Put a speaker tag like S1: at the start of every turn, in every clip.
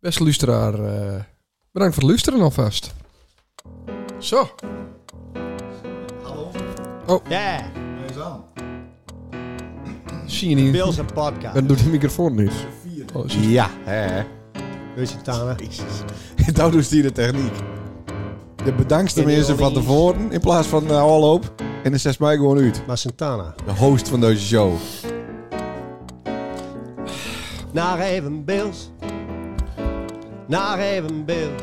S1: Beste luisteraar, eh, bedankt voor het luisteren alvast. Zo,
S2: Hallo,
S3: Oh.
S4: Ja,
S2: hij is aan.
S1: zie je niet.
S4: Bills en podcast.
S1: En doet die microfoon niet.
S2: Vier.
S1: Oh, zie je.
S4: Ja, hè. Wees je tanden.
S3: Dat doet hier de techniek. De bedankste
S4: In
S3: mensen van
S4: Orleans.
S3: tevoren in plaats van uh, op. En dan zes mij gewoon uit.
S4: Maar Santana.
S3: De host van deze show.
S4: Naar even Bills. Naar even Bills.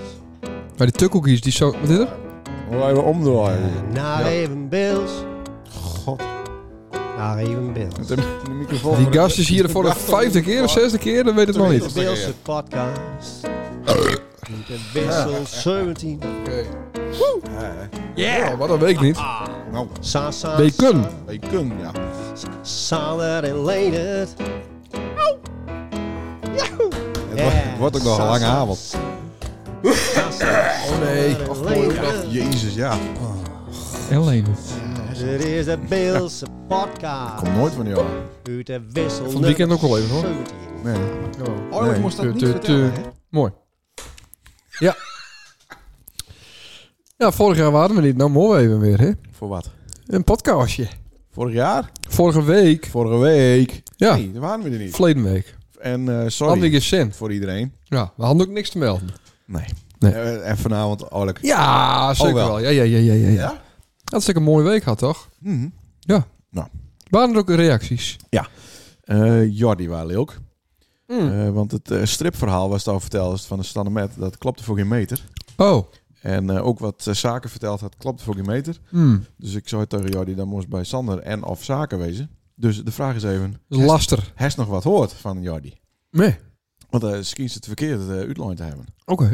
S1: Maar die tukkelkies, die zo... Wat is dat?
S2: Oh,
S3: Hoe even omdraaien.
S4: Naar even Bills.
S3: God.
S4: Naar even Bills.
S3: De, de microfoon
S1: Die gast is hier voor de vijfde keer of zesde keer, dat weet het nog
S4: De
S1: niet.
S4: Bills podcast. De wissel 17.
S1: Ja, wat dat weet ik niet.
S3: Nou,
S4: Sa, sa,
S1: They come.
S3: je kunt, ja.
S4: sa- Sander en Leendert.
S3: Het wordt- het wordt ook nog een lange avond.
S4: Oh
S1: nee.
S3: Jezus, ja.
S1: Alleen.
S4: Dit is de Bills podcast.
S3: Komt nooit van jou. aan.
S4: Uit de wissel.
S1: Van het weekend ook wel even, hoor.
S4: 17.
S3: Nee.
S2: Oh, ik
S3: Nee.
S2: moest dat niet
S1: Tu- tu-
S2: vertellen,
S1: tu-
S2: hè?
S1: Mooi. Ja. Ja, vorig jaar waren we niet. Nou, mooi even weer, hè?
S3: Voor wat?
S1: Een podcastje.
S3: Vorig jaar?
S1: Vorige week.
S3: Vorige week.
S1: Ja,
S3: Nee, daar waren we er niet.
S1: verleden week.
S3: En eh,
S1: Andy
S3: sorry
S1: is cent.
S3: voor iedereen.
S1: Ja, we hadden ook niks te melden.
S3: Nee.
S1: Nee.
S3: Eh, en vanavond Olek.
S1: Ja, zeker
S3: wel.
S1: Oh, wel. Ja, ja, ja, ja, ja. ja.
S3: Ja?
S1: Hartstikke een mooie week had, toch?
S3: Mhm.
S1: Waren er ook reacties?
S3: Eh, Jordi waren ook.
S1: Mm.
S3: Eh, want het eh, stripverhaal was het al verteld is van de Stanne Met, dat klopte voor geen meter.
S1: Oh.
S3: En eh, ook wat eh, zaken verteld had, klopte voor geen meter.
S1: Mm.
S3: Dus ik zei tegen Jordi, dan moest bij Sander en of zaken wezen. Dus de vraag is even,
S1: Dat is laster.
S3: hij is nog wat hoort van Jordi?
S1: Nee.
S3: Want eh misschien is het verkeerd het eh, uitlijn te hebben.
S1: Oké.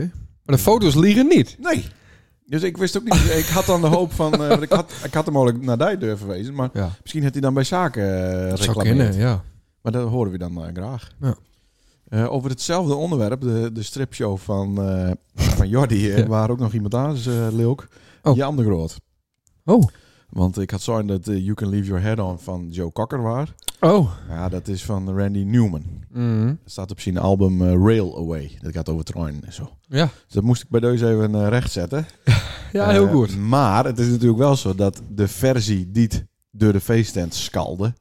S1: Maar de foto's liegen niet.
S3: Nee. Dus ik wist ook niet, ik had dan de hoop van, eh, want ik, had, ik had hem mogelijk naar daar durven wezen. Maar
S1: Ja.
S3: misschien had hij dan bij zaken eh
S1: Dat zou
S3: reclameerd.
S1: kennen, ja.
S3: Maar dat horen we dan eh, graag.
S1: Ja.
S3: Eh, over hetzelfde onderwerp, de, de stripshow van, eh, van Jordi, eh,
S1: Ja.
S3: waar ook nog iemand anders eh leuk.
S1: Oh.
S3: Jan de Groot.
S1: Oh.
S3: Want ik had zo'n dat eh, You Can Leave Your Head On van Joe Cocker waar.
S1: Oh.
S3: Ja, dat is van Randy Newman.
S1: Mm.
S3: Dat staat op zijn album eh, Rail Away. Dat gaat over treinen en zo.
S1: Ja.
S3: Dus dat moest ik bij deze even eh, rechtzetten.
S1: Ja, heel
S3: Eh,
S1: goed.
S3: Maar het is natuurlijk wel zo dat de versie die het door de feesttent skalde,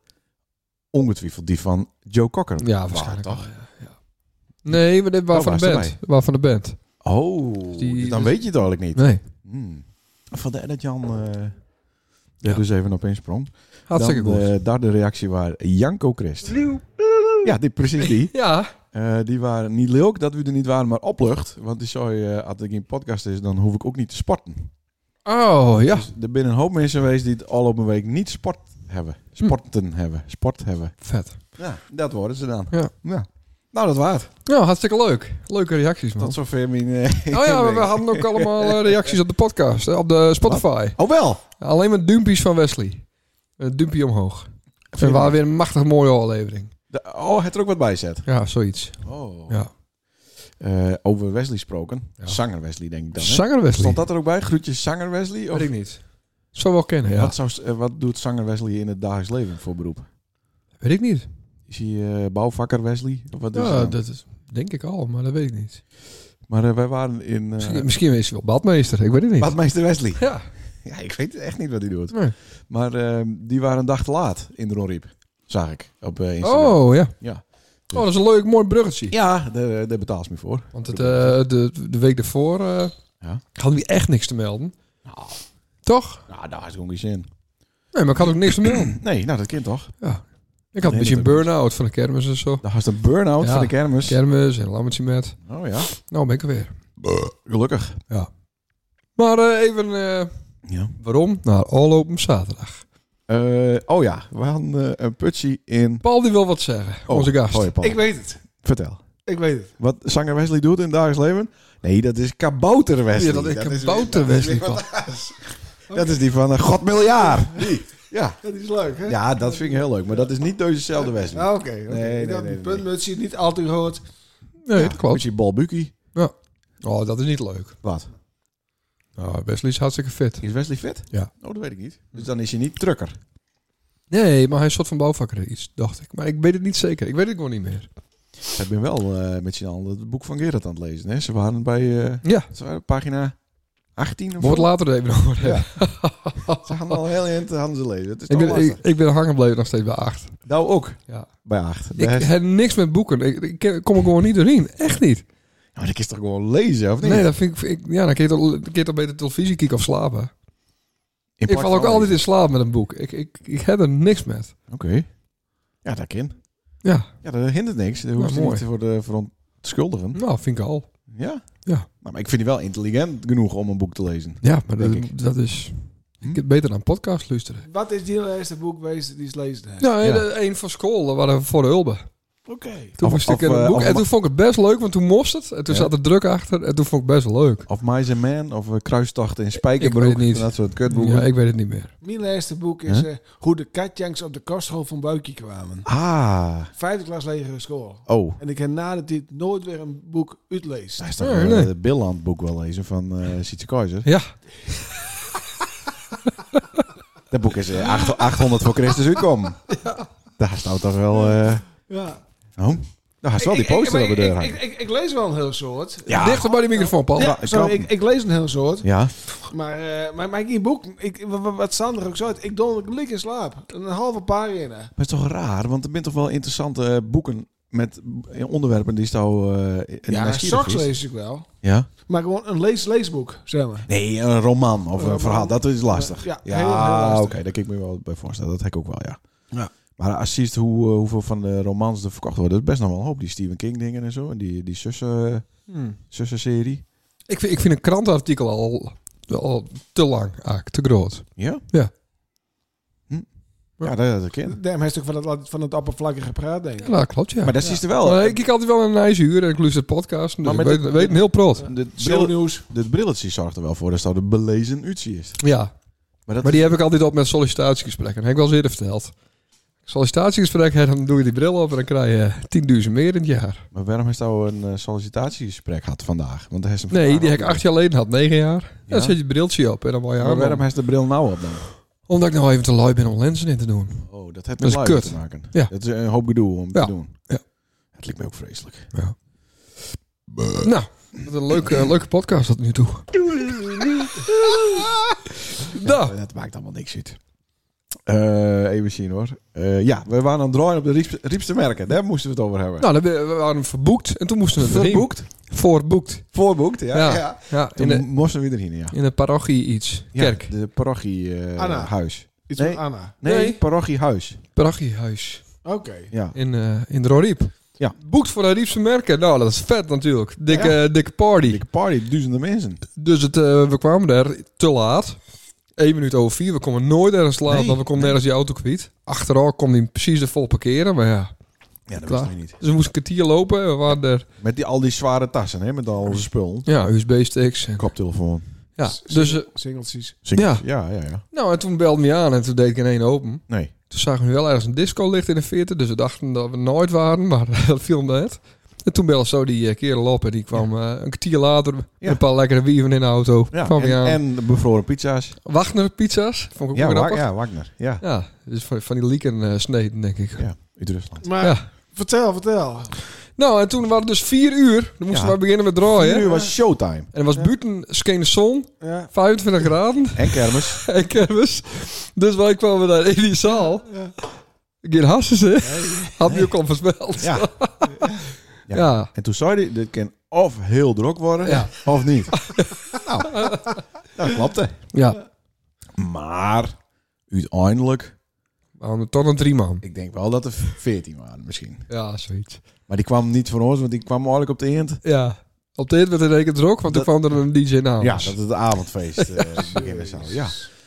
S3: ongetwijfeld die van Joe Cocker.
S1: Ja,
S3: was,
S1: waarschijnlijk.
S3: toch?
S1: wel, ja, ja. Nee, maar dit waren
S3: Oh,
S1: van de
S3: was
S1: band. Waren van de band.
S3: Oh,
S1: die-
S3: dus dan
S1: dus-
S3: weet je het eigenlijk niet.
S1: Nee.
S3: Hmm. Vandaar dat Jan eh, er
S1: Ja.
S3: dus even op insprong.
S1: Hartstikke
S3: dan,
S1: goed.
S3: eh, daar de reactie waar Janko Christ. Ja, die, precies die.
S1: Ja.
S3: Eh, die waren niet leuk dat we er niet waren, maar oplucht. Want die zei, eh, als ik in podcast is, dan hoef ik ook niet te sporten.
S1: Oh, ja.
S3: Dus er binnen een hoop mensen geweest die het al op een week niet sport hebben.
S1: Hm.
S3: Sporten hebben. Sport hebben.
S1: Vet.
S3: Ja, dat worden ze dan.
S1: Ja.
S3: Nou, dat waard.
S1: Nou, hartstikke leuk. Leuke reacties, man.
S3: Tot zover mijn... eh,
S1: Oh ja, we- we
S3: ding.
S1: hadden ook allemaal eh, reacties op de podcast, hè, op de Spotify.
S3: Oh wel!
S1: Alleen maar dumpjes van Wesley. Een dumpje omhoog. En we waren weer een machtig mooie aflevering.
S3: De- oh, het er ook wat bij zet.
S1: Ja, zoiets.
S3: Oh.
S1: Ja.
S3: Eh, over Wesley gesproken.
S1: Ja.
S3: Zanger Wesley, denk ik dan. hè?
S1: Zanger Wesley.
S3: Stond dat er ook bij? Groetjes Zanger Wesley? Of
S1: Weet ik niet. Zou wel kennen, ja.
S3: wat, zou, eh, wat doet Zanger Wesley in het dagelijks leven voor beroep?
S1: Weet ik niet.
S3: Is hij eh, bouwvakker Wesley? Of wat is
S1: Ja,
S3: hij dan?
S1: dat is, denk ik al, maar dat weet ik niet.
S3: Maar eh, wij waren in... eh,
S1: Misschien, misschien is hij wel badmeester, ik weet het niet.
S3: Badmeester Wesley.
S1: Ja. Oh,
S3: Ja, ik weet echt niet wat hij doet.
S1: Nee.
S3: Maar eh, die waren een dag te laat in de Ronriep. Zag ik op eh, Instagram.
S1: Oh, ja.
S3: Ja.
S1: Oh, dat is een leuk, mooi bruggetje.
S3: Ja, daar eh, daar betaalt ze me voor.
S1: Want het, eh, de, de week daarvoor eh
S3: Ja.
S1: hadden we echt niks te melden. Toch?
S3: Nou, daar is gewoon geen zin.
S1: Nee, maar ik had ook niks te melden.
S3: Nee, nou dat kind toch?
S1: Ik had een
S3: Nee,
S1: beetje een
S3: dat heb ik
S1: burn-out van de kermis en zo.
S3: Daar is een burn-out
S1: Ja.
S3: van de kermis.
S1: Kermis en lammetje met.
S3: oh ja.
S1: Nou ben ik er weer.
S3: Gelukkig.
S1: Maar eh, even eh,
S3: Ja.
S1: waarom? Naar Alloop op zaterdag.
S3: Eh, oh ja, we hadden eh, een putsie in...
S1: Paul die wil wat zeggen.
S3: Oh,
S1: Onze gast.
S3: hoi, Paul.
S2: Ik weet het.
S3: Vertel.
S2: Ik weet het.
S3: Wat zanger Wesley doet in het dagelijks leven? Nee, dat is kabouter Wesley.
S1: Ja, dat ik een
S2: is
S1: bouter
S2: weer- dat is
S1: Wesley
S2: weer
S1: Paul.
S3: Dat is die van eh, God miljard. Ja.
S2: Dat is leuk, hè?
S3: ja, dat vind ik heel leuk. Maar dat is niet dezezelfde Wesley.
S2: Ah, oké. oké.
S3: Nee,
S2: Ik
S3: nee,
S2: had
S3: nee,
S2: die
S3: nee.
S2: puntmuts hier niet altijd gehoord.
S1: Nee, dat klopt.
S3: Putsie Balbuki.
S1: Oh, dat is niet leuk.
S3: Wat?
S1: Nou, Wesley is hartstikke fit.
S3: Is Wesley fit?
S1: Ja.
S3: Oh, dat weet ik niet. Dus dan is hij niet trucker.
S1: Nee, maar hij is een soort van bouwvakker iets, dacht ik. Maar ik weet het niet zeker. Ik weet het gewoon niet meer.
S3: Ik ben wel eh, met z'n allen het boek van Gerrit aan het lezen. Hè? Ze waren bij eh,
S1: Ja.
S3: ze waren op pagina 18 of
S1: Wordt
S3: zo.
S1: later er even over. hebben.
S3: Ze gaan al heel eind aan ze lezen. Het is
S1: Ik
S3: toch
S1: ben,
S3: lastig.
S1: ik, ik ben hangen gebleven nog steeds bij 8.
S3: Nou ook.
S1: Ja.
S3: Bij 8.
S1: Ik heb niks met boeken. Ik, ik ken- kom er gewoon niet doorheen. Echt niet.
S3: maar dat is toch gewoon lezen, of niet?
S1: Nee, dat vind ik, vind ik- ja, dan kun je, toch, dan kun je toch beter televisie kijken of slapen.
S3: In
S1: Ik
S3: plaats
S1: val ook
S3: van
S1: altijd
S3: lezen.
S1: in slaap met een boek. Ik, ik, ik heb er niks met.
S3: Oké. Ja, dat kan.
S1: Ja,
S3: Ja, dat hindert niks. Daar
S1: Nou,
S3: hoeft je
S1: mooi.
S3: niet voor, de, voor om te schuldigen.
S1: nou, vind ik al.
S3: Ja. Nou,
S1: Ja.
S3: Maar, maar ik vind die wel intelligent genoeg om een boek te lezen.
S1: Ja, maar dat,
S3: Denk ik.
S1: dat is...
S3: Hm?
S1: Ik heb beter dan podcast luisteren.
S2: Wat is die eerste boek geweest die is lezen? heeft?
S1: Ja,
S3: Ja.
S1: de- een van school, dat waren we voor de Ulbe.
S2: Oké.
S1: Toen
S3: Of-
S1: moest ik
S3: of,
S1: in een
S3: eh,
S1: boek.
S3: of
S1: En
S3: ma-
S1: toen vond ik het best leuk, want toen moest het. En toen
S3: Ja.
S1: zat er druk achter. En toen vond ik het best leuk.
S3: Of Mice and Man, of eh, Kruistochten in Spijkerbroek.
S1: Ik weet het niet.
S3: en Dat soort kutboeken.
S1: Ja, ik weet het niet meer.
S2: Mijn eerste boek is eh, hoe de katjanks op de kostschool van Buikje kwamen.
S3: Ah.
S2: Vijfde klas lagere school.
S3: Oh.
S2: En ik heb na de tijd nooit weer een boek uitlezen.
S3: Hij is toch
S1: Ja,
S3: eh,
S1: nee.
S3: het Billand-boek wel lezen van eh Sietse Keizer.
S1: Ja,
S3: Dat boek is eh, 8 800 voor Christus uitkomen. Daar staat toch wel... eh
S2: Ja.
S3: oh, daar staat wel die
S2: Ik- ik-
S3: poster
S2: ik-
S3: op de deur
S2: ik,
S3: hangen.
S2: ik, ik, ik lees wel een heel soort.
S3: Ja.
S1: dichter bij die microfoon, Paul.
S3: Ja, ik
S2: sorry,
S3: kan-
S2: ik, ik lees een heel soort.
S3: Ja,
S2: Maar, eh, maar, maar ik in boek, ik, wa- wa- wat Sander ook zei, ik donder gelijk in slaap. Een halve pagina.
S3: maar het is toch raar, want er zijn toch wel interessante eh, boeken met eh, onderwerpen die zou eh in
S2: Ja,
S3: nieuwsgierig
S2: straks
S3: is.
S2: lees ik wel.
S3: Ja.
S2: Maar gewoon een lees-leesboek, zeg maar.
S3: Nee, een roman of een
S2: roman.
S3: verhaal, dat is lastig.
S2: Ja,
S3: ja,
S2: heel, heel lastig.
S3: oké, daar kan ik me wel bij voorstellen. Dat heb ik ook wel, ja.
S2: Ja.
S3: Maar als je ziet hoe, eh, hoeveel van de romans er verkocht worden, dat is best nog wel een hoop. Die Stephen King dingen en zo, en die, die zussen,
S2: Hmm.
S3: zussenserie.
S1: Ik, vind- ik vind een krantenartikel al, al te lang, eigenlijk, te groot.
S3: Ja?
S1: Ja.
S3: Hm. Ja, dat, dat kan.
S2: Daarom heeft hij ook van het, van het oppervlakkige praat, denk ik.
S1: Ja, dat klopt, ja.
S3: Maar dat
S2: Ja.
S3: is er wel.
S1: Maar ik kijk altijd wel een nice uur en ik luister podcast. Dus
S3: Maar
S1: ik
S3: met
S1: weet,
S3: dit-
S1: weet een heel prot.
S3: De
S2: Zo
S3: bril-
S2: nieuws.
S3: de brilletje zorgt er wel voor dat het de belezen uitzie is.
S1: Ja,
S3: Maar dat
S1: maar die heb ik altijd op met sollicitatiegesprekken. Dat heb ik wel eens eerder verteld. Sollicitatiegesprek, hè, dan doe je die bril op en dan krijg je 10.000 meer in het jaar.
S3: Maar waarom heeft nou een eh, sollicitatiegesprek gehad vandaag? Want hij is hem
S1: Nee,
S3: vandaag
S1: die heb ik
S3: ook-
S1: acht jaar geleden had, negen jaar.
S3: Ja?
S1: Dan zet je het briltje op en dan word je
S3: Maar waarom
S1: aan.
S3: heeft de bril nou op dan?
S1: Omdat ik nou even te lui ben om lenzen in te doen.
S3: Oh, dat
S1: Dat
S3: heeft met
S1: is
S3: luid
S1: kut.
S3: te maken.
S1: Ja.
S3: Dat is een hoop gedoe om
S1: Ja.
S3: te doen.
S1: Ja.
S3: Het lijkt me ook vreselijk.
S1: Nou, wat een leuke, eh, leuke podcast tot nu toe. nou,
S3: Maar Dat maakt allemaal niks uit. Eh, even zien hoor. Eh, ja, we waren aan het draaien op de riepste, riepste merken. Daar moesten we het over hebben.
S1: nou dan ben- we waren verboekt en toen moesten we erheen.
S3: Verboekt?
S1: Voorboekt.
S3: Voorboekt, ja.
S1: Ja.
S3: ja.
S1: Ja, in
S3: Toen
S1: de,
S3: moesten we erheen, ja.
S1: in de parochie iets.
S3: Ja,
S1: Kerk.
S3: de parochiehuis.
S2: Anna.
S3: huis.
S2: Iets
S3: Nee.
S2: van Anna.
S3: nee,
S1: Nee.
S3: parochiehuis.
S1: Parachiehuis
S2: Oké.
S3: Ja.
S1: in, eh in de Roriep.
S3: Ja.
S1: Boekt voor de Riepse merken. Nou, dat is vet natuurlijk. Dikke, dikke party.
S3: Dikke party, duizenden mensen.
S1: Dus het, eh, we kwamen daar te laat. Eén minuut over vier. We komen nooit ergens laat,
S3: Nee,
S1: want we komen
S3: nee.
S1: nergens die auto kwijt. Achteraf kwam die precies er vol parkeren, maar ja.
S3: Ja, dat
S1: Klaar.
S3: wist ik niet.
S1: Dus we moesten een kwartier lopen. We waren er,
S3: Met die, al die zware tassen, hè? met al onze spullen.
S1: ja, USB-sticks. en-
S3: Koptelefoon.
S1: Ja,
S2: S-
S1: dus... eh,
S2: sing- singeltjes.
S3: Singles. Ja, ja, ja.
S1: Nou, en toen belde hij aan en toen deed ik in één open.
S3: Nee.
S1: Toen zagen we wel ergens een disco licht in de 40, dus we dachten dat we nooit waren, maar eh, dat viel net. En toen belde zo die eh, kerel op en die kwam eh, een kwartier later met
S3: Ja.
S1: een paar lekkere wieven in de auto.
S3: Ja,
S1: kwam hij
S3: en,
S1: aan.
S3: en de bevroren pizza's.
S1: Wagner pizza's, vond ik ook
S3: Ja, Wa-
S1: grappig. Ja.
S3: ja, Wagner. Ja.
S1: dus van, van die lieken eh sneden, denk ik.
S3: ja, uit Rusland.
S2: Maar
S1: Ja.
S2: vertel, vertel.
S1: Nou, en toen waren het dus vier uur. Dan moesten
S3: Ja.
S1: we beginnen met
S3: Vier
S1: draaien.
S3: uur was showtime.
S1: En er was buiten scheen de zon,
S2: Ja.
S1: 25 graden.
S3: En kermis.
S1: en kermis. Dus wij kwamen daar in die zaal.
S2: Ja.
S1: Geen hassen ze. Had je ook al voorspeld.
S3: Ja.
S1: Ja.
S3: Ja.
S1: Ja.
S3: En toen zei hij, dit kan of heel druk worden,
S1: Ja.
S3: of niet. nou, dat klopte. Maar uiteindelijk,
S1: We hadden toch een drie man.
S3: ik denk wel dat er veertien waren misschien.
S1: Ja, zoiets.
S3: Maar die kwam niet van ons, want die kwam eigenlijk op de eind.
S1: Ja. Op dit werd het rekening druk, want toen kwam er een DJ naam.
S3: Ja, dat het avondfeest eh beginnen zou. Ja.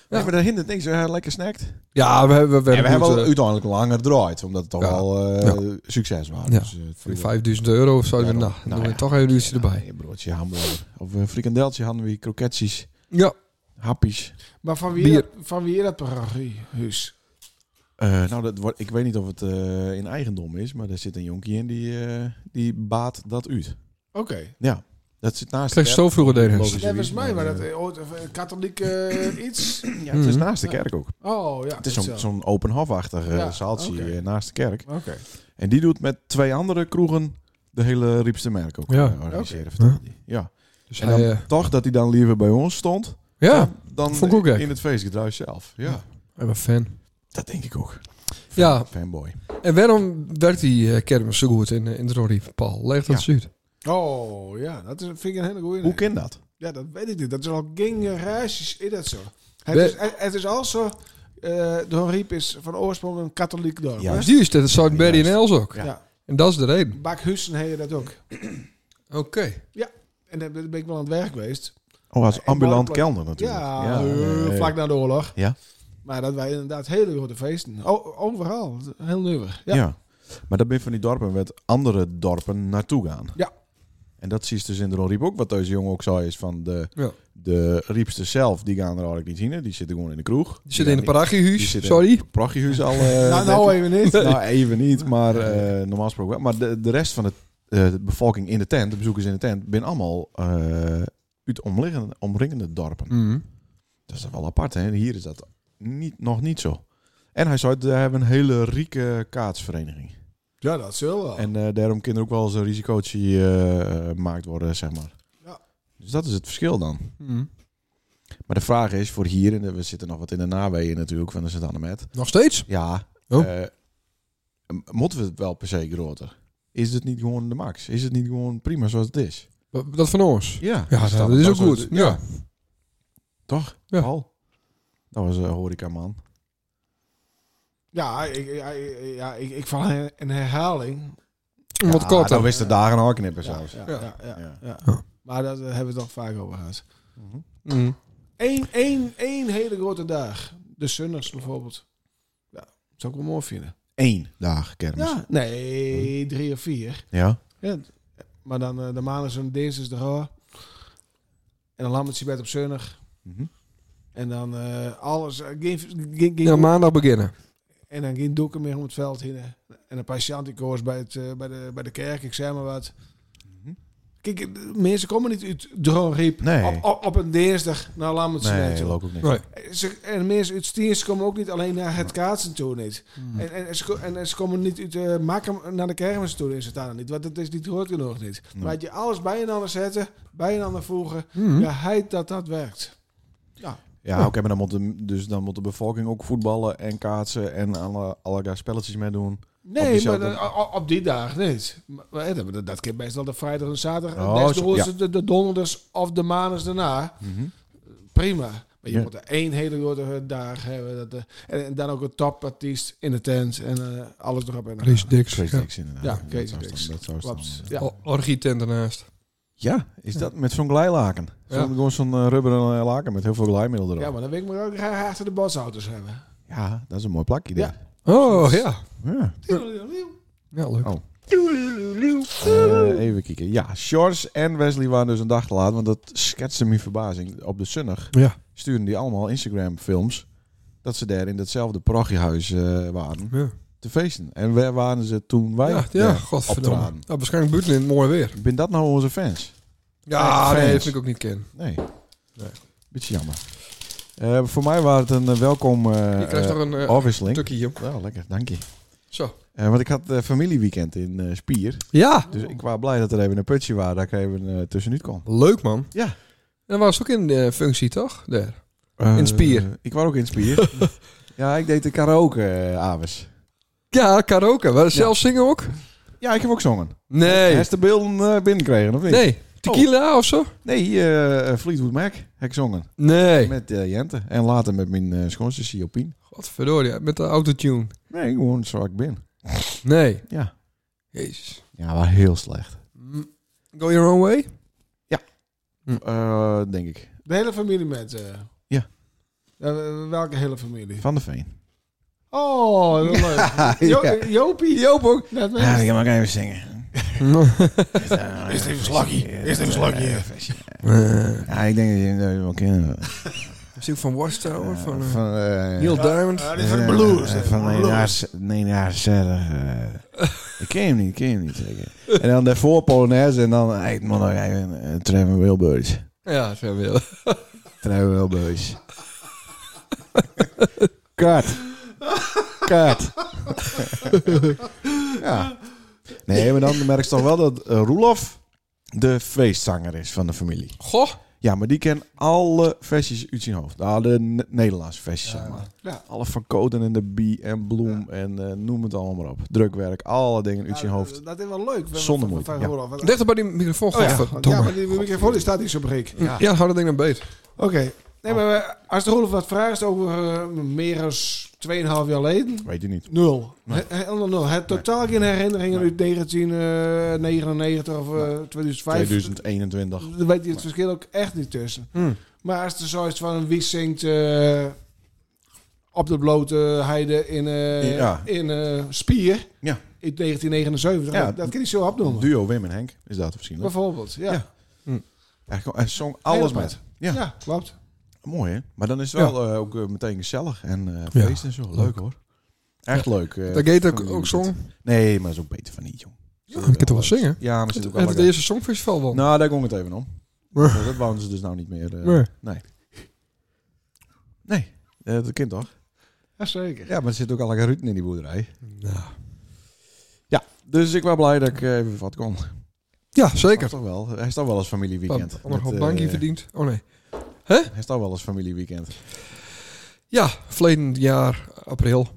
S3: Nee, maar daar hindert niks. We hebben lekker snackt.
S1: Ja, we hebben, we
S3: en we
S1: hebben
S3: hebben
S1: goed,
S3: wel
S1: eh,
S3: uiteindelijk langer gedraaid, omdat het toch
S1: Ja.
S3: wel eh, succes was.
S1: Ja.
S3: Dus, eh, het
S1: voor
S3: viel
S1: die
S3: wel.
S1: 5000 euro of zo.
S3: Ja,
S1: nou,
S3: daarom.
S1: dan
S3: Nou
S1: doen we
S3: ja.
S1: toch even een uurtje
S3: Ja,
S1: erbij.
S3: een broodje hamburger. Of een frikandeltje hadden we, kroketjes,
S1: Ja.
S3: happies.
S2: Maar van wie,
S1: Bier.
S2: dat, van wie dat programma is?
S3: Eh, nou, dat wordt, ik weet niet of het eh, in eigendom is, maar er zit een jonkie in die, eh, die baat dat uit.
S2: Oké.
S3: Ja. Dat zit naast de
S1: kreeg
S3: kerk.
S1: zoveel verdedigers.
S3: Logisch.
S2: Ja, volgens mij was dat eh, ooit een katholiek eh, iets.
S3: Ja, het is
S1: Mhm.
S3: naast de kerk ook.
S2: Oh ja.
S3: Het is zo'n zo'n open hofachtig eh,
S2: Ja,
S3: zaaltje
S2: oké.
S3: eh, naast de kerk.
S2: Oké.
S3: En die doet met twee andere kroegen de hele Riepstermerk ook
S1: Ja.
S3: ja. organiseren. vertelde die. Ja.
S1: Dus
S3: En
S1: hij,
S3: dan
S1: eh,
S3: toch dat hij dan liever bij ons stond
S1: ja,
S3: dan
S1: Vond ik ook gek.
S3: in het feestgedruis zelf. Ja,
S1: Ja. ik ben fan.
S3: dat denk ik ook.
S1: Ja,
S3: Fanboy.
S1: en waarom werkt die eh kermis zo goed in, eh, in het Rory Paul? Leg dat eens uit.
S2: Oh ja, dat is, vind ik een hele goeie.
S3: Hoe kan dat?
S2: Ja, dat weet ik niet. Dat is al ging raasjes is dat zo. Het,
S1: We-
S2: is, het, het is al zo. eh Don Riep is van oorsprong een katholiek dorp.
S3: Ja.
S2: hè?
S1: Die is dat zuid Berry en
S3: Juist.
S1: Els ook.
S2: Ja.
S1: En dat is de reden.
S2: Bakhuizen heet dat ook.
S1: Oké.
S2: En daar ben ik wel aan het werk geweest.
S3: Oh, als
S2: Ja,
S3: ambulant
S2: in
S3: kelder natuurlijk.
S2: Ja, eh,
S3: eh,
S2: vlak na de oorlog.
S3: Ja.
S2: Maar dat wij inderdaad hele grote feesten. Oh, O- overal. Heel nuver. Ja.
S3: Ja. Maar dat ben je van die dorpen met andere dorpen naartoe gaan.
S2: Ja.
S3: En dat zie je dus in de Riep ook, wat deze jongen ook zei, is van de,
S1: Ja.
S3: de Riepsters zelf, die gaan er eigenlijk niet zien. hè. Die zitten gewoon in de kroeg.
S1: Die zit in een
S3: die
S1: parachtiehuis.
S3: zitten-
S1: Sorry.
S3: prachtjehuis al. eh,
S2: nou, nou even niet.
S3: nou, even niet, maar eh, normaal gesproken wel. Maar de, de rest van het, eh, de bevolking in de tent, de bezoekers in de tent, ben allemaal eh uit omliggende, omringende dorpen.
S1: Mhm.
S3: Dat is wel apart, hè? Hier is dat niet, nog niet zo. En hij zei, we hebben een hele rieke kaatsvereniging.
S2: Ja, dat zullen wel.
S3: En eh, daarom kan er ook wel eens een risicootje eh, eh, gemaakt worden, zeg maar.
S2: Ja.
S3: Dus dat is het verschil dan.
S1: Mhm.
S3: Maar de vraag is, voor hier, en we zitten nog wat in de naweeën natuurlijk van de Sint-Annemet.
S1: Nog steeds?
S3: Ja.
S1: Oh.
S3: eh, m- moeten we het wel per se groter? Is het niet gewoon de max? Is het niet gewoon prima zoals het is?
S1: Wat- Dat van ons.
S3: Ja,
S1: Ja, nou, dat, is ook goed. Ja.
S3: Toch?
S1: Ja.
S3: Paul? Dat was eh, een horecaman.
S2: ja, ik, ja, ik- ja ik, ik val in een herhaling.
S1: Om Wat korter.
S3: Dan wist de dagen al knippen
S2: Ja,
S3: zelfs.
S2: ja,
S1: Ja.
S2: ja, ja,
S3: Ja.
S2: ja.
S1: Ja.
S2: Maar daar hebben we het toch vaak over gehad.
S3: Mhm.
S1: Mhm.
S2: Eén, één, één hele grote dag. De Sunners bijvoorbeeld. Ja, zou ik wel mooi vinden.
S3: Eén dag kermis. Ja.
S2: Ja, nee, drie of vier. Maar dan eh, de maandag en dinsdag de roer. En dan lammetje bed op zonnig.
S3: Mhm.
S2: En dan eh, alles. eh, geen, geen, geen-
S1: Ja, maandag beginnen.
S2: en dan geen doeken meer om het veld heen. En een patiëntenkoers bij, het, eh, bij, de, bij de kerk, ik zeg maar wat.
S3: Mhm.
S2: Kijk, eh, mensen komen niet uit Droonriep
S3: Nee.
S2: op, op, op een dinsdag nou, naar Lammertse
S3: Nee, loopt ook niet.
S1: Nee.
S2: Eh, Ze, en mensen uit Stiers komen ook niet alleen naar het kaatsen toe niet.
S3: Hmm.
S2: En, en, en ze, ko- en, en ze komen niet uit eh Makkum naar de kermis toe in Santana niet. Want dat is niet hoort genoeg niet.
S3: Nee.
S2: Maar had je alles bijenander zetten, bijenander voegen.
S1: Mhm.
S3: Hm?
S2: Ja, hij dat dat werkt.
S3: Ja, oké, maar dan moet, de, dus dan moet de bevolking ook voetballen en kaatsen en alle, allerlei spelletjes mee doen. Op
S2: Nee,
S3: die
S2: maar
S3: zaterdag-
S2: dan- o- o- op die dag niet. Maar, maar eh, dat- dat, dat kan meestal de vrijdag en zaterdag.
S3: Oh,
S2: en des te
S3: zo-
S2: hoogste
S3: ja.
S2: de, de donderdags of de maandags daarna. Prima. Maar je
S3: Ja.
S2: moet er één hele grote dag hebben. Dat, eh, en, en dan ook een topartiest in de tent. En eh, alles erop en
S1: Chris Dix.
S3: Crazy
S1: Ja.
S3: Dicks inderdaad.
S2: Ja,
S3: Dat
S2: Crazy
S3: zou
S2: Dicks.
S3: staan, Dat zou staan.
S2: Klopt. Ja.
S1: O- Orgie-tent ernaast.
S3: Ja, is dat met zo'n glijlaken? Zo'n,
S1: Ja.
S3: Gewoon zo'n eh, rubberen eh, laken met heel veel glijmiddel erop.
S2: Ja,
S3: Ja,
S2: maar dan wil ik me ook graag achter de bosauto's hebben.
S3: dat is een mooi plakje.
S2: Ja.
S3: Ja.
S1: Oh, ja.
S3: ja.
S1: Ja, leuk.
S3: Oh. Eh, even kijken. Ja, Shores en Wesley waren dus een dag te laat, want dat schetste mijn verbazing. Op de zonnig
S1: Ja.
S3: sturen die allemaal Instagram-films dat ze daar in datzelfde parochiehuis eh, waren
S1: Ja,
S3: te feesten. En waar waren ze toen wij?
S1: ja,
S3: daar
S1: godverdomme.
S3: optraden?
S1: Ja, waarschijnlijk buiten in het mooie weer.
S3: Ben dat nou onze fans?
S1: Ja,
S3: Fans.
S1: nee, dat vind ik ook niet ken.
S3: Nee.
S1: Nee.
S3: Beetje jammer. Eh, voor mij was het een eh, welkom eh,
S1: Je krijgt
S3: eh,
S1: toch een eh,
S3: afwisseling.
S1: stukje hier.
S3: Wel lekker, dank je.
S1: Zo. Oh.
S3: Eh, want ik had eh, familieweekend in eh, Spier.
S1: Ja.
S3: Dus ik was blij dat er even een putje was, dat ik even eh, tussenuit kon.
S1: Leuk, man.
S3: Ja.
S1: En dan was het ook in de functie, toch? Daar.
S3: Eh,
S1: In Spier.
S3: Ik was ook in Spier. ja, ik deed de karaoke eh, avonds.
S1: Ja, karaoke. Wel zelf zingen ook?
S3: Ja, ik heb ook zongen.
S1: Nee.
S3: Hij is de beelden eh, binnenkregen, of niet?
S1: Nee. Tequila of zo?
S3: Nee, eh, Fleetwood Mac heb ik zongen.
S1: Nee.
S3: Met eh, Jente. En later met mijn eh schoonste Siopien.
S1: Godverdorie, met de autotune.
S3: Nee, gewoon zo ik ben.
S1: Nee.
S3: Ja.
S1: Jezus.
S3: Ja, maar heel slecht.
S1: Mm. Go your own way?
S3: Eh, denk ik.
S2: De hele familie met. eh,
S3: Ja.
S2: eh, welke hele familie?
S3: Van de Veen.
S2: Oh, heel leuk. Jo
S3: Ja.
S2: Jopie. Joop ook. Dat weet
S3: Ah, Ja,
S2: ik.
S3: ik mag even zingen.
S2: Eerst eh, even een slokje. Eerst even een slokje.
S1: Eh,
S3: Ja, ik denk dat je dat wel kennen.
S1: Stuk van Watchtower, van eh,
S3: Van... eh,
S1: Neil Diamond.
S2: Ja, dit is van de blues.
S3: eh,
S2: hè.
S3: Van
S2: Blues.
S3: 1970. eh, Ik ken hem niet, ik ken hem niet zeker. En dan daarvoor Polonaise en dan... Hey, man, dan ga je een- een Trevor Wilburys.
S1: Ja, zo wil.
S3: Trevor Wilburys. Kat. Kat. ja. Nee, maar dan merk je toch wel dat eh, Roelof de feestzanger is van de familie.
S1: Goh.
S3: Ja, maar die kent alle versies uit zijn hoofd. Ah, de N- Nederlandse versies, zeg maar.
S2: Ja.
S3: Alle van Coden en de Bie en Bloem en eh, noem het allemaal maar op. Drukwerk, alle dingen uit zijn
S2: Ja,
S3: hoofd.
S2: dat- Dat is wel leuk. We-
S3: Zonder
S2: we- we-
S3: moeite,
S2: we-
S3: ja.
S2: horen af.
S1: Dichter bij die microfoon.
S2: Oh ja, want- ja,
S1: Godverdomme.
S2: maar die microfoon die staat hier zo breek.
S1: ja, hou dat ding dan beet.
S2: Oké. Nee, maar eh, als de Rolf wat vraagt over eh, meer dan 2,5 jaar geleden.
S3: Weet je niet.
S2: Nul. He- Helemaal nul. Het totaal geen herinneringen uit 1999 of eh, 2005.
S3: 2021.
S2: Daar weet je het verschil ook echt niet tussen.
S1: Hmm.
S2: Maar als er zoiets van een wie zingt eh, op de blote heide in, eh,
S3: Ja.
S2: in eh, Spier
S3: Ja.
S2: in 1979,
S3: Ja.
S2: dat, dat kan je zo opnoemen.
S3: Duo Wim en Henk is dat misschien. wel.
S2: Bijvoorbeeld, ja.
S3: Ja.
S2: Ja,
S3: Hij kon- Hij zong alles
S2: Helemaal.
S3: met. Ja.
S2: klopt.
S3: Mooi hè? Maar dan is het wel eh, ook eh, meteen gezellig en eh, feest en zo. Leuk,
S1: Leuk.
S3: hoor. Echt leuk. eh,
S1: Dat Gate ook,
S3: familie
S1: ook
S3: dit.
S1: zong.
S3: Nee, maar dat is ook beter van niet, jong.
S1: ik kan toch wel zingen?
S3: Ja, maar zit
S1: Het,
S3: ook wel
S1: het
S3: lekker-
S1: eerste songfestival wel.
S3: Nou, daar ging het even om.
S1: Nee.
S3: Maar dat wouden ze dus nou niet meer. eh,
S1: Nee.
S3: Nee. Nee, eh, dat kind toch?
S2: Jazeker.
S3: Ja, maar er zit ook al lekker Ruud in die boerderij.
S1: Nou.
S3: Dus ik was blij dat ik eh, even wat kon.
S1: Ja,
S3: Hij is
S1: zeker.
S3: toch wel, hij is toch wel eens familieweekend.
S1: Anderhalf
S3: Met,
S1: bankje
S3: eh,
S1: verdiend. Oh nee.
S3: Hij is toch wel eens familieweekend.
S1: Ja, verleden jaar april.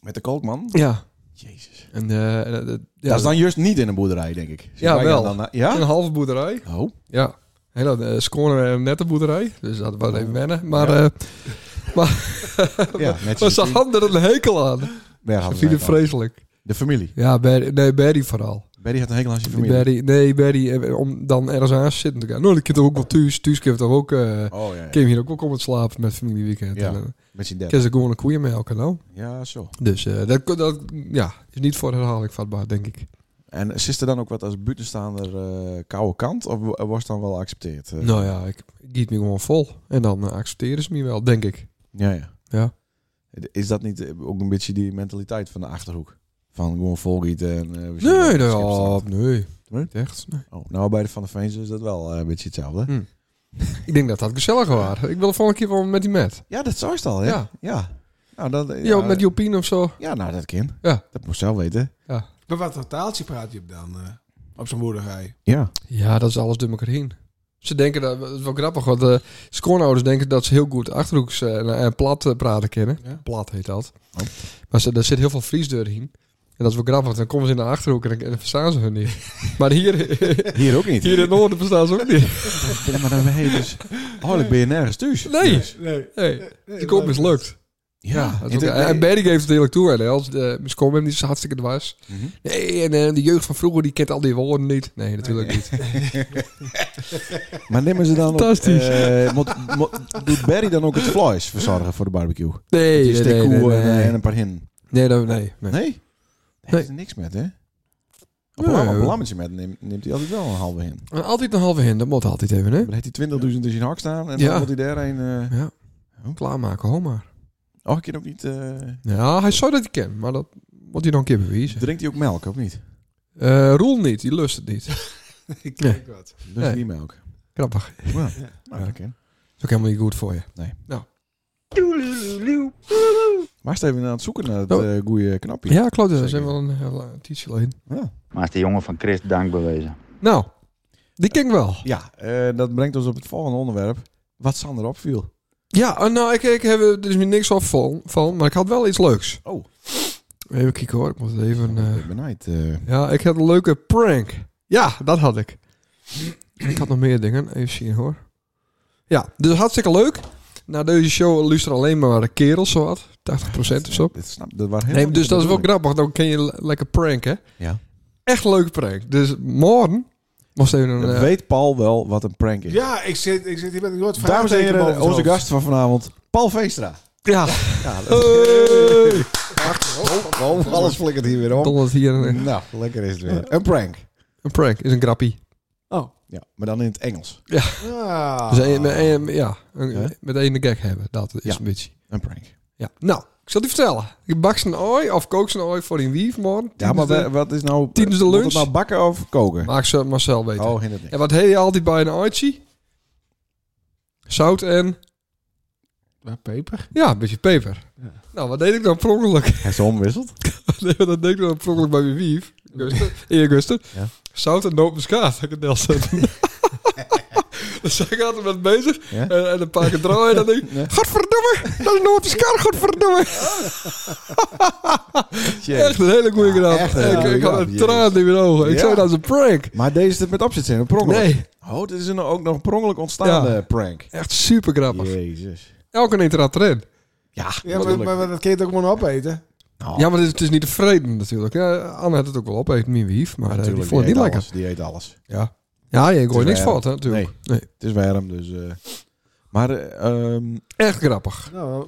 S3: Met de kolkman?
S1: Ja.
S3: Jezus.
S1: En eh, eh, eh, ja,
S3: dat is dan juist niet in een boerderij, denk ik. Zit
S1: Ja,
S3: wij
S1: wel.
S3: dan na-
S1: een
S3: ja?
S1: halve boerderij.
S3: Oh.
S1: Ja. Hele eh, schone uh, nette boerderij. Dus dat was even wennen. Maar,
S3: Ja.
S1: eh
S3: Ja, netjes.
S1: maar ze hadden er een hekel aan. Ze vielen
S3: Berghout
S1: het
S3: zei het al.
S1: vreselijk.
S3: De familie.
S1: Ja, Barry, nee, Barry vooral.
S3: Berry had een hekel aan zijn
S1: Die
S3: familie.
S1: Barry, nee, Barry, eh, om dan ergens aan te zitten te gaan. Nou, ik heb toch ook wel thuis. Thuis kan toch ook... eh
S3: Oh ja, ja.
S1: Kim hier ook wel komen te slapen met familieweekend.
S3: Ja.
S1: En, eh,
S3: Met zijn dad.
S1: Kan ze gewoon een koeien met elkaar nou.
S3: Ja, zo.
S1: Dus eh, dat, dat ja, is niet voor herhaling vatbaar, denk ik.
S3: En is er dan ook wat als buitenstaander eh koude kant? Of wo- was dan wel geaccepteerd? Eh,
S1: Nou ja, ik giet me gewoon vol. En dan eh, accepteren ze me wel, denk ik.
S3: Ja, ja.
S1: Ja.
S3: Is dat niet eh, ook een beetje die mentaliteit van de Achterhoek? Van gewoon volgieten en... eh, we zien wel
S1: Nee,
S3: dat het schip
S1: dat,
S3: staat.
S1: nee.
S3: Nee?
S1: Niet echt. nee.
S3: Oh, nou, bij de Van de Veens is dat wel eh, een beetje hetzelfde.
S1: Hm. Ik denk dat dat gezellig was. Ik wil de volgende keer wel met die met.
S3: Oh Ja, dat zou het al, hè?
S1: Ja.
S3: Ja. Nou, dat, ja,
S1: Ja, met Jopien of zo.
S3: ja, nou, dat kan.
S1: Ja.
S3: Dat moest zelf weten.
S2: Maar wat voor taaltje praat je dan eh, op zo'n boerderij?
S3: Ja.
S1: Ja, dat is alles door elkaar heen. Ze denken dat, het is wel grappig, want eh schoonouders denken dat ze heel goed achterhoeks eh, en en plat eh, praten kennen.
S2: Ja.
S1: Plat heet dat.
S3: Oh.
S1: Maar ze, daar zit heel veel Fries doorheen. En dat is wel grappig, want dan komen ze in de achterhoek en dan, en dan verstaan ze hun niet. maar hier,
S3: Hier ook niet.
S1: hier in het noorden verstaan ze ook niet.
S3: Ja, maar dan ben je dus... Oh, ik ben je nergens thuis.
S1: Nee.
S3: Dus-
S2: Nee.
S1: Hey,
S2: nee,
S1: die kop is lukt.
S3: Ja.
S1: Dat is
S3: en
S1: ook-
S3: dat-
S1: en Barry geeft het eerlijk toe. En als de mijn schoonmoeder eh, die is hartstikke dwars.
S3: Mhm.
S1: Nee, en eh, de jeugd van vroeger die kent al die woorden niet. Nee, natuurlijk niet.
S3: Maar nemen ze dan
S1: Fantastisch.
S3: ook... eh, moet- moet- doet Barry dan ook het vlees verzorgen voor de barbecue?
S1: Nee,
S3: Die
S1: nee,
S3: stik
S1: nee,
S3: koe
S1: nee,
S3: en, eh, en
S1: nee.
S3: een paar hin.
S1: Nee, dat- nee, nee.
S3: Nee? Daar
S1: Nee.
S3: is er niks met, hè?
S1: Nee.
S3: Op een lam- een lammetje met neemt, neemt hij altijd wel een halve hin.
S1: En Altijd een halve hin, dat moet altijd even, hè?
S3: Dan heeft hij 20.000 in zijn hak staan en
S1: Ja.
S3: dan moet hij daar een... eh
S1: Ja. Klaarmaken, ho maar.
S3: oh, ik kan ook niet... eh,
S1: Ja, hij zou dat hij kent, maar dat moet hij dan een keer bewijzen.
S3: drinkt hij ook melk, of niet?
S1: Eh Roel niet, die lust het niet.
S2: Ik denk wat.
S3: Dus
S1: Nee.
S3: niet melk.
S1: Grappig.
S3: Ja. Nou, dat kan.
S1: Is ook helemaal niet goed voor je.
S3: Maar is even aan het zoeken naar het
S1: Oh.
S3: eh goede knopje.
S1: Ja, klopt. Daar
S3: Zeker.
S1: zijn wel een, heel, eh, tijdje alleen.
S3: Ja,
S5: Maar is de jongen van Christ dank bewezen.
S1: Nou, die ken ik wel.
S3: Ja, eh, dat brengt ons op het volgende onderwerp. Wat Sander opviel.
S1: Ja, eh, nou, ik, ik heb er dus niks af van, van, maar ik had wel iets leuks.
S3: Oh.
S1: Even kijken hoor, ik moet het even... eh,
S3: Ik ben benijd. eh,
S1: Ja, ik had een leuke prank. Ja, dat had ik. ik had nog meer dingen. Even zien hoor. Ja, dus hartstikke leuk. Na deze show luisteren alleen maar kerels, zowat. 80% of zo.
S3: Dit snap, dat waren
S1: Nee, dus dat is wel grappig. Dan ken je le- lekker prank, hè?
S3: Ja.
S1: Echt een leuke prank. Dus morgen moest even een... eh,
S3: Weet Paul wel wat een prank is?
S2: Ja, ik zit, ik zit hier met een groot
S3: Dames en
S2: vraagteken boven
S3: heren,
S2: het
S3: onze
S2: hoofd.
S3: gast van vanavond, Paul Veenstra.
S1: ja,
S3: Ja, dat-
S1: Hey!
S3: Oh, alles flikkert hier weer om.
S1: dondert hier een,
S3: Nou, lekker is het weer. Een prank.
S1: een prank. Is een grappie.
S3: Ja, maar dan in het Engels.
S2: Ah.
S1: Dus een, een- een- ja, een-
S3: Ja.
S1: met één gag hebben. Dat is
S3: Ja.
S1: een beetje...
S3: Een prank.
S1: Ja. Nou, ik zal die vertellen. Je bakt een ooi of kookt een ooi voor in wief morgen.
S3: Ja, maar wa- wat is nou...
S1: tijdens de
S3: moet
S1: lunch?
S3: het nou bakken of koken?
S1: Maak ze Marcel weten.
S3: Oh, hindert niet.
S1: En wat heet je altijd bij een oitje? Zout en...
S2: Ja, peper.
S1: Ja, een beetje peper.
S2: Ja.
S1: Nou, wat deed ik dan per ongeluk?
S3: Hij is omwisseld.
S1: Nee, want dat deed ik dan per ongeluk bij mijn wief. Guster. Eer Guster.
S3: Ja.
S1: Zout en nootmuskaat. Heb ik het Nelson. Dus zij gaat er met bezig.
S3: Ja?
S1: En, en een paar keer draaien. En dan denk ik...
S3: Ja.
S1: Godverdomme! Dat is nootmuskaat. Godverdomme!
S3: Jezus.
S1: Echt een hele goede
S3: Ja,
S1: grap.
S3: echt een hele
S1: Ik- ik
S3: goeie
S1: had
S3: grap,
S1: een
S3: jezus.
S1: traan in mijn ogen. Ik
S3: Ja.
S1: zei dat is een prank.
S3: Maar deze is het met opzet zijn, een per ongeluk.
S1: Nee,
S3: Oh, dit is een, ook nog een per ongeluk ontstaande
S1: Ja.
S3: prank.
S1: echt super grappig.
S3: Jezus.
S1: Elke neemt er aan erin.
S3: Ja,
S2: Ja, maar, maar, maar dat kun je het ook gewoon opeten.
S3: Nou,
S1: Ja, maar het is, het is niet tevreden natuurlijk. Ja, Anne had het ook wel opeten, mijn wief. Maar eh, die
S3: natuurlijk,
S1: vond het
S3: eet
S1: niet lekker.
S3: alles, die eet alles.
S1: Ja. Ja, je gooit
S3: Het is
S1: niks
S3: warm.
S1: fout, hè, natuurlijk. Nee.
S3: Het is warm, dus... eh, maar, eh, ehm,
S1: Echt grappig.
S2: Nou,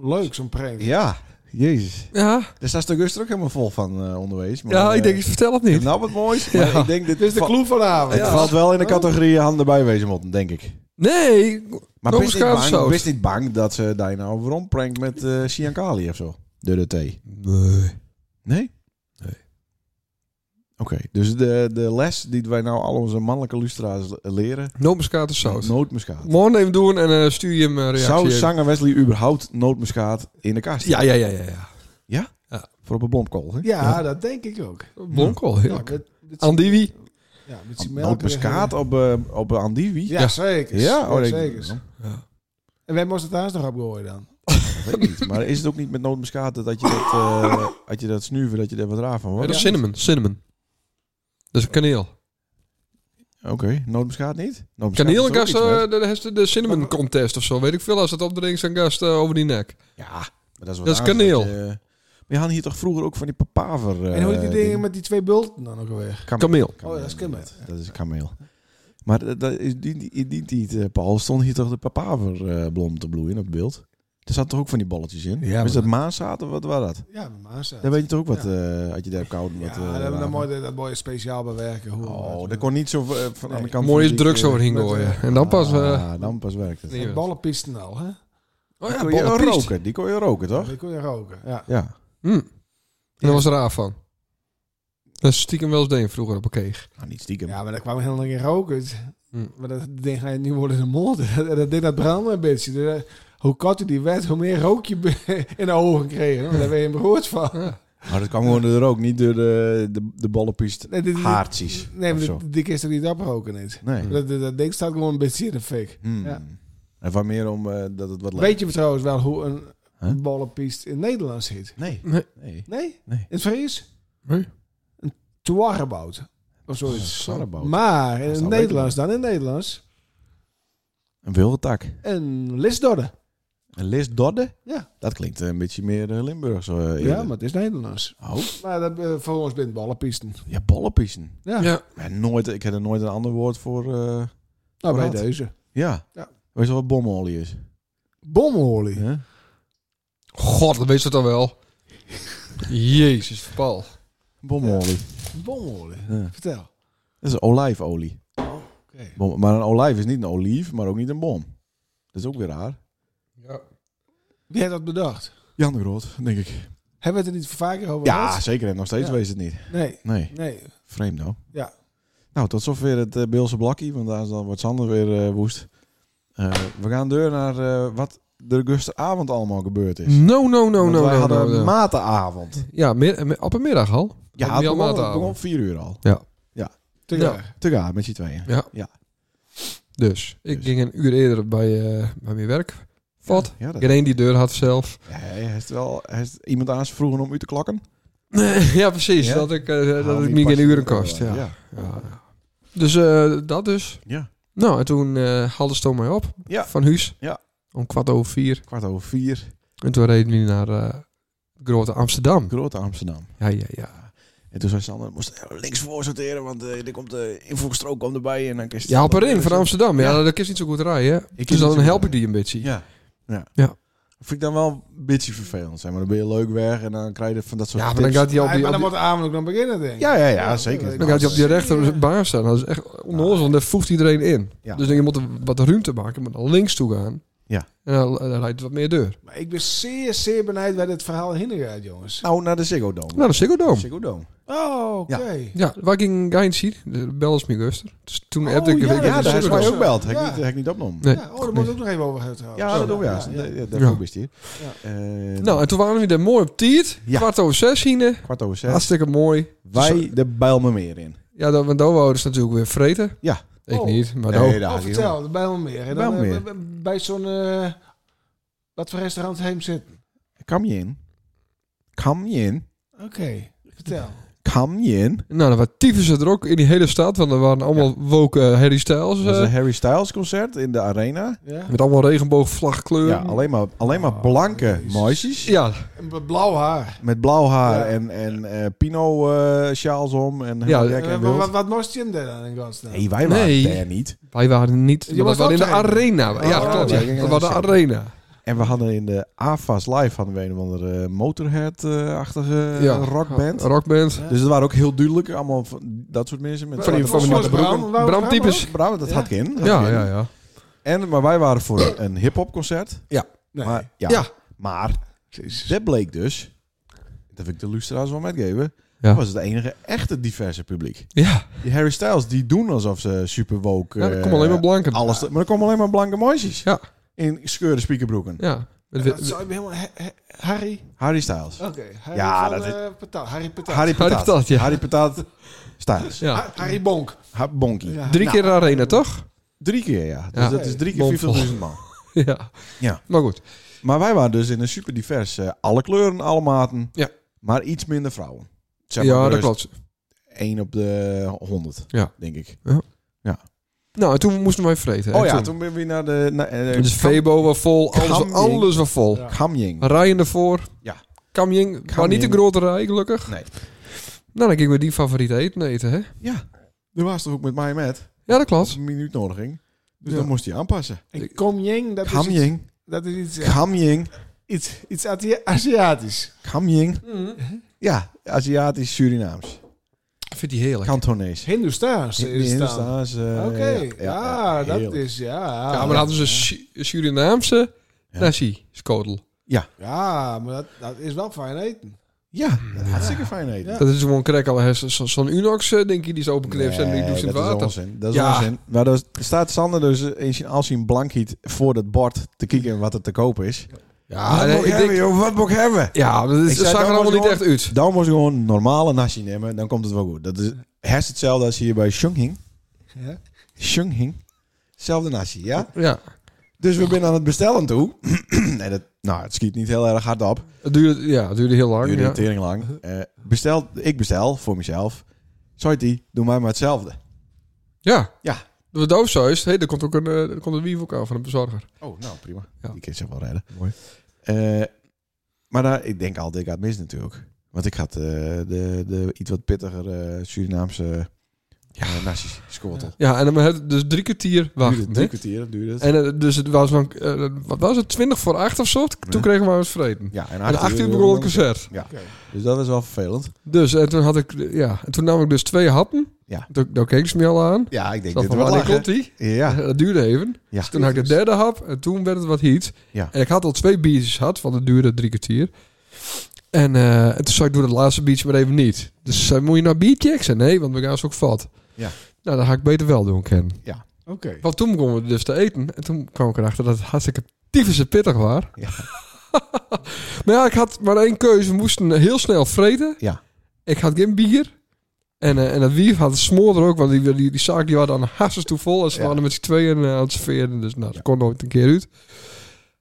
S2: leuk zo'n prank.
S3: ja, jezus.
S1: Ja,
S3: Er staat Dus de gust ook helemaal vol van eh onderwijs. Maar,
S1: ja ik
S3: eh,
S1: denk, ik vertel het niet.
S3: Nou, wat moois. Maar
S1: Ja.
S3: ik denk, dit
S2: Ah, Dit is de
S3: va-
S2: clue vanavond.
S3: Het valt wel in de categorie handen bijwezen moeten, denk ik.
S1: Nee,
S3: Maar
S1: Nog
S3: best
S1: een
S3: niet, bang,
S1: schaamsaus.
S3: best niet bang dat ze daar nou rondprankt met eh Siankali of zo? De DT. Nee?
S1: Nee.
S3: Nee. Oké, dus de, de les die wij nou al onze mannelijke lustra's leren...
S1: Nootmuskaat is zout.
S3: Nootmuskaat.
S1: Morgen even doen en eh, stuur je hem een reactie.
S3: Zou
S1: even.
S3: zanger Wesley überhaupt nootmuskaat in de kast
S1: Ja, ja, ja, ja. ja.
S3: Voor op een blomkool, hè?
S2: Ja, dat denk ik ook.
S3: Mm.
S1: Blonkel,
S2: Ja,
S1: heerlijk.
S2: met, met,
S1: Andiewie.
S2: ja, met die melk.
S3: Nootmuskaat op, eh op een andiewie?
S2: Ja,
S1: Ja.
S2: zeker.
S3: Ja, oh,
S2: Ja,
S3: denk ik-
S2: zeker. En wij moesten het daar eens nog opgooien dan.
S3: dat weet ik niet. Maar is het ook niet met nootmuskaat dat dat je dat, eh dat, je dat snuiven, dat je daar wat raar
S1: Nee,
S3: van wordt?
S1: dat is cinnamon. Cinnamon. Dat is kaneel.
S3: Oké, nootmuskaat niet? Nootmuskaat
S1: Kaneel en
S3: is er ook
S1: gast,
S3: iets met.
S1: eh, de, de, de cinnamon contest of zo. Weet ik veel. Als het opdrinkt, zijn gast eh, over die nek.
S3: Ja, maar dat is wel
S1: Dat is
S3: aardig
S1: kaneel.
S3: je- maar je had hier toch vroeger ook van die papaver... eh,
S2: en hoe heet die dingen met die twee bulten dan ook alweer?
S3: Kam-
S1: Kameel.
S2: Oh, ja, dat is kenmerk.
S3: Dat is kameel. Maar dat, dat is die, die, die, die- eh, Paul, stond hier toch de papaver eh blom te bloeien op het beeld? Er zaten toch ook van die balletjes in?
S1: Ja,
S3: is
S1: maar-
S3: dat maanzaad of wat was dat?
S2: Ja, met Maasa.
S3: Daar weet je toch ook wat,
S2: Ja.
S3: eh had je daar kouden?
S2: Ja,
S3: wat, eh,
S2: dat hebben we
S3: raven?
S2: dan mooi, dat mooi speciaal bewerken. Hoe,
S3: Oh,
S2: wat-
S3: dat kon niet zo eh, van
S2: Nee.
S3: de kant...
S1: Mooi
S3: van
S1: is
S3: die,
S1: drugs
S3: eh,
S1: overheen
S2: met, eh,
S1: gooien. En dan pas... eh
S3: ah, dan pas werkt het.
S1: nee,
S2: De ballenpisten al, hè?
S1: oh
S3: Die
S1: ja,
S3: kon je
S1: ballenpiest.
S3: roken, die kon je roken, toch?
S2: Die kon je roken. Ja.
S3: Ja.
S1: Hm. En daar was er raar van. Dat is stiekem wel eens deed vroeger op een keeg.
S3: Nou, niet stiekem.
S2: ja, maar dat kwam helemaal geen roken.
S1: Hm.
S2: Maar dat ding ga je nu worden in de mond. En dat ding dat brandde een beetje. Dus, eh, hoe korter die werd, hoe meer rook je in de ogen kreeg. hè. Daar ben je beroerd van.
S1: Ja.
S3: Maar dat kwam gewoon door de rook, niet door de, de, de ballenpiest
S2: Nee, dit- dit-
S3: haartjes.
S2: Nee,
S3: of
S2: maar
S3: zo. Hm.
S2: dit- die kist er niet oproken niet.
S3: Nee.
S2: Dat, dat, dat ding staat gewoon een beetje in de fik.
S3: Hmm.
S2: Ja.
S3: En van meer om eh, dat het wat lijkt.
S2: Weet je trouwens wel hoe een
S3: Huh?
S2: ballenpiest in Nederland zit?
S3: Nee.
S1: Nee.
S3: Nee.
S2: Nee?
S3: Nee.
S2: In het Fries?
S1: Nee.
S2: Een toarrebout. Of zoiets.
S3: Sarrebout. Oh,
S2: Maar in
S3: Dat
S2: het
S3: zou
S2: Nederlands dan in het Nederlands
S3: Een wilde tak.
S2: een lisdodde.
S3: Een listdodde?
S2: Ja.
S3: Dat klinkt een beetje meer eh, Limburgs. eh, eerder.
S2: Ja, maar het is Nederlands.
S3: Oh,
S2: Maar dat, eh, voor ons bent ballenpiesten.
S3: ja, ballenpiesten.
S2: Ja.
S1: Ja.
S3: Ja, nooit, ik heb er nooit een ander woord voor. eh,
S2: Nou, bij
S3: Wat?
S2: deze.
S3: ja.
S2: Ja.
S3: Weet je wel wat bomolie is?
S2: Bomolie.
S3: Hè?
S1: God, dat weet ze dan wel. Jezus, Paul.
S3: Bomolie.
S2: Bomolie.
S3: Ja.
S2: Vertel.
S3: Dat is olijfolie.
S2: Oké.
S3: Bom- maar een olijf is niet een olief, maar ook niet een bom. Dat is ook weer raar.
S1: Ja.
S2: Wie heeft dat bedacht?
S3: Jan de Groot, denk ik.
S2: Hebben we het er niet vaker over
S3: Ja,
S2: gehad?
S3: zeker. En nog steeds
S2: Ja.
S3: wees het niet.
S2: Nee.
S3: Nee,
S2: Nee.
S3: vreemd nou.
S2: Ja.
S3: Nou, tot zover het eh, Beelse blakkie, want daar is dan wordt Sander weer eh, woest. Eh, we gaan deur naar eh, wat er gisteravond allemaal gebeurd is.
S1: No, no, Mm. no,
S3: Want
S1: no,
S3: wij
S1: no,
S3: hadden
S1: no, no.
S3: matenavond.
S1: Ja, meer, eh, op een middag al.
S3: Ja,
S1: Hadden
S3: het
S1: we al
S3: begon, het
S1: matenavond.
S3: begon om vier uur al.
S2: Te
S1: Ja.
S2: graag.
S3: Te gaan met z'n tweeën.
S1: Dus, ik
S3: Dus.
S1: ging een uur eerder bij, eh, bij mijn werk. Wat?
S3: Ja, dat,
S1: Iedereen die deur had zelf.
S3: Ja, hij heeft wel hij heeft iemand aan ze vroegen om u te klokken.
S1: ja, precies.
S3: Ja.
S1: Dat ik, eh, dat
S3: Haal
S1: ik niet
S3: die
S1: geen
S3: pasje
S1: uren
S3: er wel
S1: kost.
S3: bij.
S1: Ja.
S3: Ja.
S1: Ja. Dus eh, dat dus.
S3: Ja.
S1: Nou, en toen eh haalde ze mij op.
S3: Ja.
S1: Van huis.
S3: Ja.
S1: Om kwart over vier.
S3: kwart over vier,
S1: En toen reden we naar eh, Grote Amsterdam.
S3: grote Amsterdam.
S1: Ja, ja, ja.
S3: En toen zei Sander, moest links voor sorteren, want eh, er komt de invoegstrook komt erbij. En dan kun je
S1: Ja, op erin van Amsterdam. Ja,
S3: Ja.
S1: dat is niet zo goed rijden. hè.
S3: niet
S1: Dus
S3: zo
S1: dan
S3: goed
S1: help ik
S3: rijden.
S1: die een beetje.
S3: Ja. ja.
S1: Ja.
S3: Dat Vind ik dan wel een beetje vervelend, zeg maar. Dan ben je leuk weg en dan krijg je van dat soort
S1: Ja, maar dan
S3: tips.
S1: gaat hij op
S2: Maar
S1: die, op
S2: dan
S1: die-
S2: moet de avond ook nog beginnen, denk ik.
S3: Ja, ja, ja, zeker.
S2: Dan
S1: dan gaat hij op die rechterbaan staan. Dat is echt onnozel, want daar voegt iedereen in.
S3: Ja.
S1: Dus dan, je moet er wat ruimte maken. Je moet naar links toe gaan.
S3: Ja.
S1: En dan, dan rijdt het wat meer deur.
S2: Maar ik ben zeer, zeer benijd waar dit verhaal heen gaat, jongens.
S3: Nou, naar de Ziggo Dome.
S1: Nou, dat is zeker dom.
S3: Ziggo Dome.
S2: Oh, oké.
S1: Ja, waar ging Gein zien? De bel is mijn guster. Dus toen
S2: Oh,
S1: heb ik...
S2: ja,
S1: weet ik-
S3: Ja, daar
S2: is
S3: is
S2: ook
S3: mij
S2: zo.
S3: ook gebeld. Heb ik
S2: Ja.
S3: niet- heb ik niet opgenomen.
S1: Nee.
S2: Ja, oh, daar moet ik ook nog even over hebben trouwens.
S3: Ja, dat doen we ja.
S2: ja, ja.
S3: Ja, Dat
S1: Ja.
S3: ook best hier. Eh,
S1: Nou, en toen waren we daar mooi op tijd.
S3: Ja.
S1: Kwart over zes hier.
S3: kwart over zes.
S1: Hartstikke mooi.
S3: Wij de Bijlmermeer in.
S1: Ja, dan, want daar wouden ze natuurlijk weer vreten.
S3: Ja.
S1: Ik
S2: Oh.
S1: niet, maar daar-
S3: Nee, daar
S2: Oh,
S3: had ik
S2: vertel, bij Almere. En dan,
S3: Bijlmermeer.
S2: eh, bij- Bij zo'n... eh, wat voor restaurant heem zit.
S3: helemaal- Kom je in. Kom je in.
S2: Oké, vertel.
S3: Kom je in.
S1: Nou, dan waren tyfus er ook in die hele stad. Want er waren allemaal woke eh, Harry Styles.
S3: Dat was
S1: eh,
S3: een Harry Styles concert in de arena.
S2: Ja?
S1: met allemaal regenboogvlagkleuren.
S3: Ja, alleen maar, alleen maar
S2: Oh,
S3: blanke
S2: jezus.
S3: meisjes.
S1: Ehm, Ja,
S2: En b- Blauw haar.
S3: Met blauw haar
S2: Ja.
S3: en, en eh, pino eh, sjaals om. En
S1: Ja,
S3: ja,
S2: Eh,
S3: en
S2: wa- wa- wat,
S3: wild.
S2: moest je hem daar dan in godsnaam?
S3: Nee, wij waren
S1: Nee.
S3: daar niet.
S1: wij waren niet.
S2: Je
S1: maar
S2: was
S1: we waren in de
S2: wel trainen.
S1: arena. ja,
S2: Oh,
S1: klopt.
S2: ja,
S1: Ja.
S3: ja, ja,
S1: We waren de
S3: zeker.
S1: arena.
S3: En we hadden in de AFAS Live hadden we een of andere eh, Motorhead-achtige eh,
S1: Ja.
S3: rockband.
S1: Rockband.
S2: Ja.
S3: Dus het waren ook heel duidelijk allemaal van dat soort mensen. Met
S1: Van die- van die-
S3: zwarte
S1: Bram-
S3: broeken.
S2: Bram- Bram-
S1: Bramtypes.
S3: Bravo, dat
S2: Ja.
S3: had ik in. dat had
S1: Ja,
S3: ik in.
S1: ja, ja.
S3: En, maar wij waren voor een, een hip-hop concert.
S2: Nee.
S3: Maar, ja,
S1: Ja.
S3: maar
S2: Jezus.
S3: dat bleek dus, dat wil ik de Lustra's wel metgeven,
S1: Ja.
S3: dat was het enige echte diverse publiek.
S1: Ja,
S3: Die Harry Styles, die doen alsof ze super woke.
S1: ja, er
S3: eh,
S1: komen alleen maar blanken.
S3: alles, Maar er komen alleen maar blanke meisjes.
S1: Ja.
S3: In scheurde spiekerbroeken.
S1: Ja. Met
S2: Dat
S1: wit-
S2: zou ik me helemaal... He- he- Harry?
S3: Harry Styles.
S2: Oké, Harry
S3: Ja,
S2: van
S3: dat is-
S2: eh, Patat. Harry Patat.
S3: Harry Patat.
S1: Patat, ja.
S3: Harry Patat Styles.
S1: ja.
S2: Ha- Harry Bonk.
S3: Ha- Bonkie.
S2: Ah, Ja.
S1: Drie
S2: Nou,
S1: keer de arena, toch?
S3: Drie keer, ja. Dus
S1: Ja.
S3: dat is drie
S1: Mondvol.
S3: keer 50.000 man.
S1: Ja.
S3: Ja.
S1: Maar goed.
S3: Maar wij waren dus in een super divers, eh, alle kleuren, alle maten.
S1: Ja.
S3: Maar iets minder vrouwen. Zeg maar
S1: Ja, dat
S3: bewust
S1: klopt.
S3: één op de 100,
S1: Ja.
S3: denk ik.
S1: Nou, en toen moesten wij vreten.
S3: Oh
S1: En
S3: ja, toen ben we naar de... Naar, eh,
S1: Dus
S3: Kam-
S1: Febo was vol. Alles,
S3: Kamjing.
S1: alles was vol.
S2: Ja.
S3: Kamjing.
S1: Rijen ervoor.
S3: Ja.
S1: Kamjing. Maar
S3: Kamjing.
S1: niet de grote rij, gelukkig.
S3: Nee.
S1: Nou, dan gingen we die favoriete eten eten, hè?
S3: Ja, dat was toch ook met mij met.
S1: Ja, dat klopt.
S3: Een minuut nodig ging. Dus
S1: Ja.
S3: dan moest hij aanpassen.
S2: En Komjeng, dat is iets...
S3: Kamjing.
S2: Dat is iets... eh,
S3: Kamjing.
S2: Iets, iets Azi- Aziatisch.
S3: Kamjing.
S1: Mm.
S3: Ja, Aziatisch Surinaams.
S1: Vind die heerlijk.
S3: Kantonees.
S2: Hindoestaans is het dan.
S3: Hindoestaans, eh,
S2: Oké, ja, dat
S3: heerlijk.
S2: is... Ja,
S1: ja, maar dan hadden ze Su- Surinaamse
S3: Ah, Ja.
S1: nasi skodel.
S2: Ja, maar dat, dat is wel fijn eten.
S3: Ja, hartstikke fijn eten.
S2: Ja.
S1: Dat is gewoon krek al hersen. Zo- Zo'n Unox, eh, denk je, die is openknipt en die
S3: Nee,
S1: doet ze in het
S3: dat is
S1: water.
S3: onzin. Dat is
S1: Ja.
S3: onzin. Maar daar staat Sander dus in zijn, als hij een blank hiet voor dat bord te kijken wat er te koop is.
S1: Ja, Ah, nee,
S3: moet
S1: ik denk,
S3: joh, wat moet ik hebben?
S1: ja maar
S3: Ik
S1: dat
S3: zei,
S1: zag
S3: dan
S1: er allemaal
S3: was
S1: niet echt
S3: gewoon-
S1: uit.
S3: Dan moet je gewoon een normale nasi nemen, dan komt het wel goed. Dat is herst hetzelfde als hier bij Chongqing.
S2: Ja.
S3: Chongqing. Zelfde nasi, ja?
S1: Ja,
S3: Dus we zijn aan het bestellen toe. en dat, nou, het schiet niet heel erg hard op.
S1: het duurde, ja, het duurde heel lang.
S3: Duurde
S1: ja.
S3: een tering lang. Eh, bestel, ik bestel voor mezelf. Zoiets, doe mij maar hetzelfde.
S1: Ja.
S3: Ja.
S1: De doofzuis, hé, er komt ook een, eh, er komt een wief ook aan van een bezorger.
S3: Oh, nou prima.
S1: Ja.
S3: Die kan zich wel redden.
S1: Mooi.
S3: Eh, maar daar, ik denk altijd, ik ga het mis natuurlijk. Want ik had eh, de, de iets wat pittiger eh Surinaamse ja. nasi skortel.
S1: Ja, en dan had het dus drie kwartier
S3: Duurde
S1: wachten.
S3: drie
S1: hè?
S3: kwartier, duurde het.
S1: En eh, dus het was van, eh, wat was het, 20 voor 8 of zo? Toen kregen we het vreten.
S3: ja,
S1: En
S3: acht
S1: 8 uur begon het concert.
S2: Oké.
S3: Dus dat was wel vervelend.
S1: Dus en toen had ik, eh, ja, en toen nam ik dus twee happen.
S3: Ja.
S1: Toen, toen keek ze me al aan.
S3: Ja, ik denk
S1: Dat
S3: dit
S1: van
S3: wel
S1: wanneer
S3: lachen.
S1: komt die?
S3: Ja,
S1: Dat duurde even.
S3: Ja.
S1: Dus toen had ik de derde hap en toen werd het wat heat.
S3: Ja.
S1: En ik had al twee biertjes gehad, want het duurde drie kwartier. En, eh, en toen zei ik, doe dat laatste biertje maar even niet. Dus ze zei, moet je nou biertje? Ik zei, nee, want we gaan ze ook vat.
S3: Ja.
S1: Nou, dat ga ik beter wel doen, Ken.
S2: Oké.
S1: Want toen begonnen we dus te eten. En toen kwam ik erachter dat het hartstikke tyfus en pittig was.
S3: Ja.
S1: maar ja, ik had maar één keuze. We moesten heel snel vreten.
S3: Ja.
S1: Ik had geen bier. En, eh, en dat wief had het smoor er ook. Want die, die, die zaak die was aan hassers toe vol. En ze
S3: Ja.
S1: waren met z'n tweeën eh, aan het serveren. Dus nou, dat
S3: Ja.
S1: kon nooit een keer uit.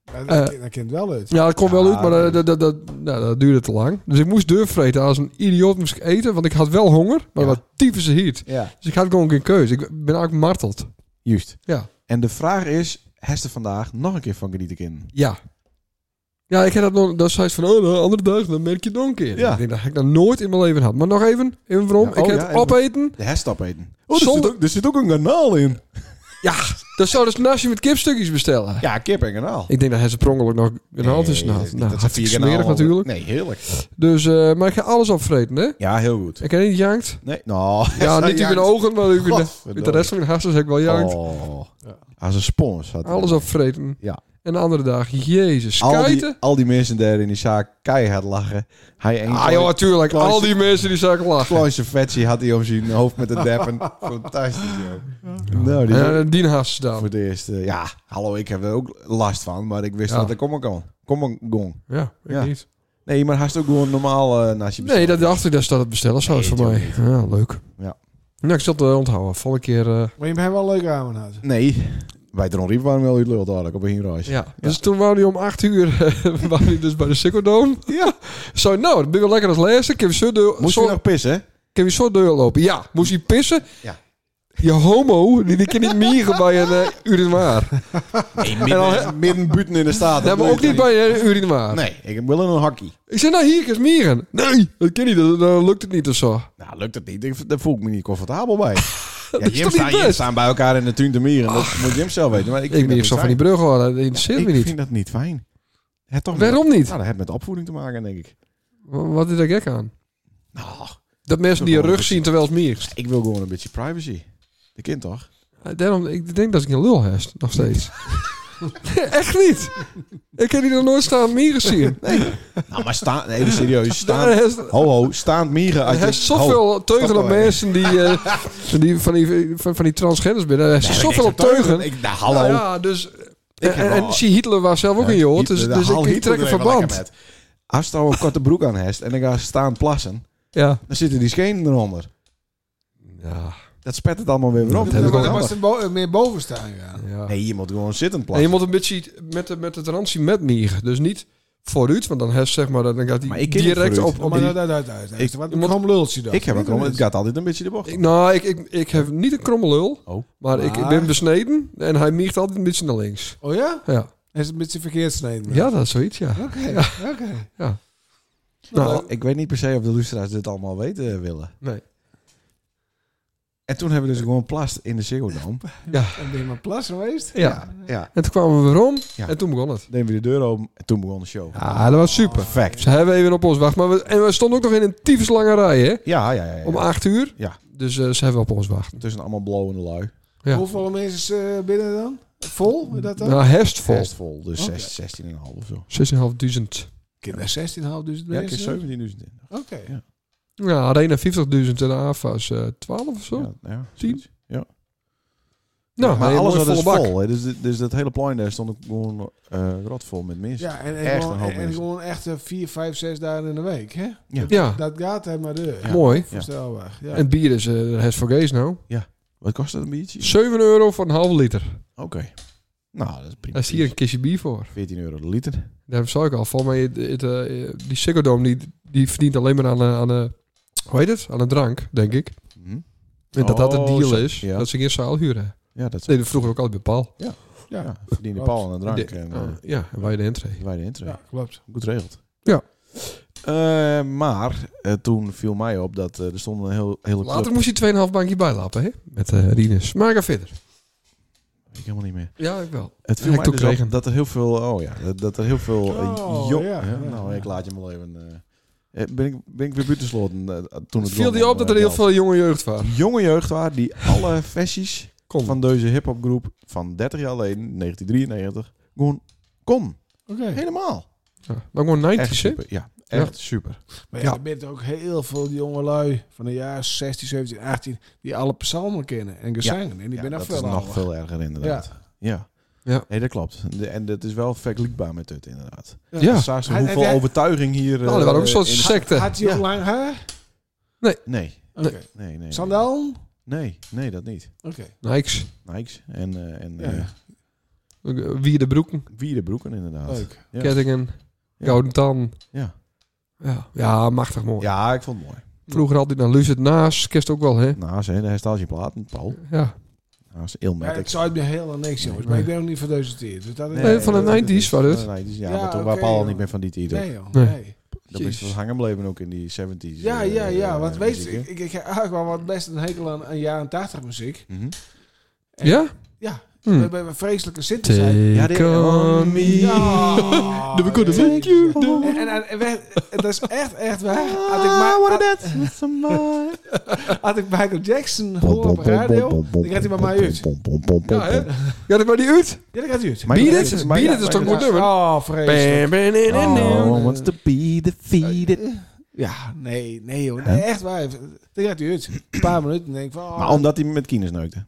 S2: Ja,
S1: Eh,
S2: dat, dat kent wel uit.
S1: Ja, dat kon
S3: Ja,
S1: wel uit. Maar eh,
S3: oké.
S1: dat, dat, dat, nou, dat duurde te lang. Dus ik moest deurvreten. Als een idioot moest ik eten. Want ik had wel honger. Maar
S3: Ja.
S1: wat tyfus heat.
S3: ja.
S1: Dus ik had gewoon geen keuze. Ik ben eigenlijk marteld.
S3: juist.
S1: Ja.
S3: En de vraag is, Hester vandaag nog een keer van genieten in?
S1: Ja. Ja, ik heb dat nog. Dat zei ze van, oh, de andere dag, dan merk je het nog een keer.
S3: Ja.
S1: Ik denk dat ik dat nooit in mijn leven had. Maar nog even, even waarom?
S3: Ja,
S1: ik
S3: oh,
S1: heb
S3: ja,
S1: het
S3: even.
S1: opeten.
S3: De Hester opeten.
S1: Oh, er zit ook-
S3: er zit ook een kanaal in.
S1: Dan zou dus nasi met kipstukjes bestellen.
S3: Ja, kip en kanaal. Eh,
S1: Ik denk dat hij ze per ongeluk nog een hand is. Nou, nou
S3: dat
S1: hartstikke smerig natuurlijk.
S3: Nee, heerlijk.
S1: Dus, eh, maar ik ga alles opvreten, hè?
S3: Ja, heel goed.
S1: Ik heb niet jankt.
S3: Nee, nou.
S1: Ja, niet in mijn ogen, maar ik ben,
S3: Godverdomme.
S1: met de rest van mijn hartstikke heb ik wel jankt.
S3: Oh. Als een spons. Had
S1: Alles opvreten.
S3: Ja.
S1: En En de andere dag, jezus,
S3: Al die,
S1: kuiten.
S3: al die mensen daar in die zaak keihard lachen. Hij een
S1: Ah joh, natuurlijk.
S3: Klaas-
S1: Al die mensen die zagen lachen.
S3: Kloonse vetje had hij om zijn hoofd met de deppen. Fantastisch, joh. Nou, die
S1: En eh, Dien Haas
S3: voor
S1: dan.
S3: het eerst. eh, ja, hallo, ik heb er ook last van, maar ik wist
S1: Ja.
S3: dat er komen kon. Komen gong.
S1: Ja, ik
S3: Ja.
S1: niet.
S3: Nee, maar hij is ook gewoon normaal eh naast je
S1: Nee, dat dacht ik, daar staat het bestellen zo
S3: Nee,
S1: voor mij. Ja, leuk.
S3: Ja.
S1: Nou, ik zal het eh, onthouden. Volgende keer... eh,
S2: Maar je hebt hem wel leuk aan had.
S3: Nee, bij Dron Riep waren we wel uit lul dadelijk op een heenreis.
S1: ja. Dus toen wou hij om acht uur... eh, wou hij dus bij de Sikkerdoom. Ja. Zo, nou, dat ben wel lekker als laatste. Ik heb zo deur,
S3: Moest
S1: zo,
S3: je nog pissen?
S1: ik heb zo deur lopen. Ja, moest hij pissen?
S3: Ja.
S1: Je homo, die, die kan niet mieren bij een eh, urinoir.
S3: En dan midden buiten in de staat.
S1: Nee, maar ook niet bij een urinoir.
S3: Nee, ik wil een hockey.
S1: Ik zei, nou, hier is mieren. Nee, dat kan niet. Dan, dan lukt het niet of zo.
S3: Nou, lukt het niet. Ik- Daar voel ik me niet comfortabel bij. ja,
S1: is
S3: Jim
S1: toch
S3: staan,
S1: niet
S3: Jim
S1: best? Oh.
S3: staan bij elkaar in de tuin te mieren. Dat moet Jim zelf weten. Maar ik,
S1: Ik
S3: vind
S1: ben
S3: dat
S1: hier zo van
S3: niet
S1: die
S3: fijn.
S1: brug hoor. Dat interesseert me
S3: Ik
S1: niet.
S3: vind dat niet fijn. Het toch
S1: Waarom
S3: met-
S1: niet?
S3: Nou, dat heeft met opvoeding te maken, denk ik.
S1: Wa- Wat is daar gek aan?
S3: Nou,
S1: Dat mensen die je
S3: Gewoon
S1: rug
S3: een
S1: zien terwijl het mierst.
S3: ik wil gewoon een beetje privacy. De kind toch?
S1: Eh, Daarom, ik denk dat ik een lul heb, nog steeds. Nee, Echt niet. Ik heb die nog nooit staan mieren zien.
S3: nou, maar staan... Even serieus.
S1: Daar
S3: Staan...
S1: is-
S3: Ho, ho. Staand mieren. Als
S1: Er
S3: je...
S1: zijn zoveel teugen
S3: stop
S1: op
S3: wel even.
S1: mensen die, eh, van, die, van, die, van, van die transgenders binnen. Er zijn zoveel op teugen.
S3: Ik, nou,
S1: Nou
S3: hallo.
S1: ja, dus, en,
S3: heb
S1: en
S3: wel-
S1: zie Hitler was zelf ook een jood. Dus,
S3: de
S1: dus
S3: hal
S1: ik,
S3: hiet
S1: ik trek
S3: er
S1: een
S3: even
S1: verband.
S3: lekker met. Als je een korte broek aan hebt en ik ga staan plassen,
S1: Ja.
S3: dan zitten die schenen eronder.
S1: Ja.
S3: Dat spet het allemaal weer weer op.
S1: Dat heb ik ook
S2: Dan
S1: wel.
S2: was er bo- eh, meer boven staan ja.
S1: ja.
S3: Nee, je moet gewoon zittend
S1: En je
S3: plassen.
S1: moet een beetje met, de, met het randje met mieren. Dus niet vooruit, want dan, heb, zeg maar, dan gaat
S3: Maar
S1: hij
S3: ik ken
S1: direct
S3: niet
S1: op,
S3: vooruit.
S1: op
S2: Maar
S1: die
S2: dat uit, uit, uit.
S3: Ik-
S2: Ik, Wat
S1: je moet-
S2: een lultje dan.
S3: ik heb ook
S2: Weet je
S3: wel, het
S2: niet.
S3: gaat altijd een beetje de bocht.
S1: Ik- nou, ik, ik, ik heb niet een kromme lul.
S3: Oh.
S1: Maar ik, ik
S2: Maar-
S1: ben besneden en hij miegt altijd een beetje naar links.
S2: Oh ja?
S1: Ja,
S2: Hij is een beetje verkeerd snijden.
S1: ja dat is zoiets, ja.
S2: Oké, oké.
S1: Nou,
S3: ik weet niet per se of de luisteraars dit allemaal weten eh, willen.
S1: nee.
S3: En toen hebben we dus gewoon plast in de cirkeldom.
S2: En ben je maar plas geweest?
S1: Ja.
S3: Ja,
S1: En toen kwamen we weer om
S3: Ja.
S1: en toen begon het.
S3: deden we de deur open en toen begon de show.
S1: Ja, dat was super.
S3: Perfect.
S1: Ze hebben even op ons wacht. Maar we, en we stonden ook nog in een tyfus lange rij, hè?
S3: Ja, ja, ja. ja.
S1: Om acht uur.
S3: Ja.
S1: Dus eh, ze hebben op ons wacht.
S3: Tussen allemaal blowende lui.
S1: Ja.
S2: Hoeveel mensen eh, binnen dan? Vol? Is dat dan?
S1: Nou, herst vol.
S3: Best vol. Dus
S2: Oké.
S3: 16 16,5 of zo.
S1: 16.500.
S2: Kinderen 16,5 duizend
S3: Ja,
S2: nou, mensen.
S3: keer 17.000. in.
S2: Oké.
S1: Ja, de ene 50.000 en de AFA's eh 12 of zo.
S3: Ja, ja,
S1: Tien?
S3: zoiets. Ja.
S1: Nou,
S3: maar
S1: nee,
S3: alles
S1: mooi
S3: was dus
S1: volle bak.
S3: vol. Hè? Dus, dit- dus dat hele plein daar stond ook gewoon eh rotvol met mensen.
S2: Ja, en, en,
S3: Echt een
S2: gewoon,
S3: hoop
S2: en, en
S3: mensen.
S2: gewoon echt eh, vier, vijf, zes dagen in de week. Hè?
S1: Ja,
S2: Dat gaat hem maar door.
S1: mooi.
S2: Verstelbaar. Ja.
S1: En bier is uh, herst voor geest nou.
S3: Wat kost dat een biertje?
S1: 7 euro voor een halve liter.
S3: Oké. Nou, dat is prima.
S1: Daar is hier een kistje bier voor.
S3: 14 euro de liter.
S1: Daarom zou ik al. Volgens mij, het, het, eh, die Sikkerdom die, die verdient alleen maar aan, eh, aan eh, hoe heet het? Aan een drank, denk ik.
S3: Mhm.
S1: En dat dat het
S3: Oh,
S1: deal
S3: zo,
S1: is,
S3: ja.
S1: dat ze geen zaal huren.
S3: Ja, dat is...
S1: Dat deden we vroeger ook altijd bij Paul.
S3: Ja, verdien de paal aan een drank.
S1: De-
S3: en,
S1: eh,
S3: eh,
S1: ja, en wij de entree.
S3: Wij de intree.
S2: ja, klopt.
S3: Goed geregeld.
S1: Ja.
S3: Eh, maar eh, toen viel mij op dat eh, er stond een heel, hele club...
S1: Later moest hij 2,5 bankje bijlappen, hè? Met eh Rinus. Maar ga verder.
S3: Ik helemaal niet meer.
S1: Ja, ik wel.
S3: Het viel
S1: Ja, ik
S3: mij
S1: ook
S3: dus op
S1: kregen.
S3: dat er heel veel... Oh ja, dat, dat er heel veel eh,
S2: Oh,
S3: jong...
S2: ja,
S3: hè?
S2: ja,
S3: nou,
S2: ja.
S3: ik laat je maar even... eh, eh, ben, ik, ben ik weer buitensloten eh, toen het...
S1: Viel
S3: begon,
S1: die op dat er
S3: eh,
S1: heel veel jonge jeugd waren?
S3: jonge jeugd waren die alle versies
S1: Kon.
S3: van deze hip-hop groep van 30 jaar geleden, 1993, gewoon kon.
S2: Oké.
S3: Helemaal.
S1: Ja, maar gewoon 90
S3: Echt eh,
S1: hè?
S3: super. Ja, echt super.
S2: Maar ja,
S1: Ja.
S2: er bent ook heel veel jongelui van de jaar 16, 17, 18 die alle psalmen kennen en gezangen. En die
S3: Ja,
S2: ben nog
S3: dat
S2: veel
S3: is nog
S2: ouder.
S3: veel erger inderdaad. Ja.
S1: Ja.
S3: Nee, dat klopt. De- en dat is wel vergelijkbaar met dit inderdaad.
S1: Ja.
S3: Saas,
S2: Hij-
S3: hoeveel
S2: hij-
S3: overtuiging hier...
S1: Nou, er
S3: eh,
S1: waren ook een soort
S3: in-
S1: secte.
S2: Had hij ook
S3: Ja.
S2: lang haar?
S3: Nee,
S2: Oké.
S1: Nee.
S3: nee, nee.
S2: Sandalen?
S3: Nee, nee, dat niet.
S2: Oké.
S1: Nikes.
S3: Nikes en, eh en
S2: Ja.
S3: eh,
S1: Wie de broeken.
S3: Wierenbroeken inderdaad.
S2: Leuk.
S3: Ja.
S1: Kettingen.
S3: Ja.
S1: Gouden tan.
S3: Ja.
S1: Ja. ja, machtig mooi.
S3: Ja, ik vond het mooi.
S1: Vroeger altijd naar Luzet naast. Kerst ook wel, hè?
S3: Naast, hè, daar staat je plaat, Paul.
S1: Ja.
S3: Naast
S2: Maar ik
S3: Ilmatic.
S2: zou het me heel niks, jongens. Maar ik ben ook niet van deze tier. Dus dat is-
S1: Nee, van de
S2: dat is-
S1: 90s was het.
S3: Van de 90s, ja,
S2: Ja,
S3: maar toen
S2: oké,
S3: waren Paul al
S2: joh.
S3: niet meer van die tijd.
S2: Nee, joh.
S1: Nee.
S2: Nee.
S3: Dan ben je
S1: Jezus.
S3: wel hangen bleven ook in die 70s.
S2: Ja,
S3: eh,
S2: ja, ja.
S3: eh,
S2: Want weet je,
S3: muziek,
S2: ik,
S3: hè.
S2: ik heb eigenlijk wel wat best een hekel aan, aan jaren 80 muziek.
S3: Mhm.
S2: En-
S1: Ja?
S2: Ja,
S1: Hmm.
S2: We hebben vreselijke zitten zijn.
S1: Take on me.
S2: Ja.
S1: The good thank you.
S2: En, en, en, we- dat is echt, echt waar. Had ik, Ma- had, had ik Michael Jackson horen op radio, dan gaat hij bij mij uit.
S1: Ja, hè? Ja, dat maar die uit.
S2: Ja, dan gaat hij uit.
S3: Maar-
S1: Beat
S3: Jackson-
S1: it. Beat
S3: Michael
S1: it is toch een goed
S2: Ja.
S1: nummer?
S2: Oh, vreselijk.
S1: Bam,
S2: Oh,
S1: bam, bam,
S2: eh,
S1: bam, bam.
S3: No wants to be defeated.
S2: Ja, nee, nee joh. Nee, echt waar. Dan gaat hij uit. Een paar minuten en denk ik van... Oh,
S3: Maar omdat hij met kines neukte.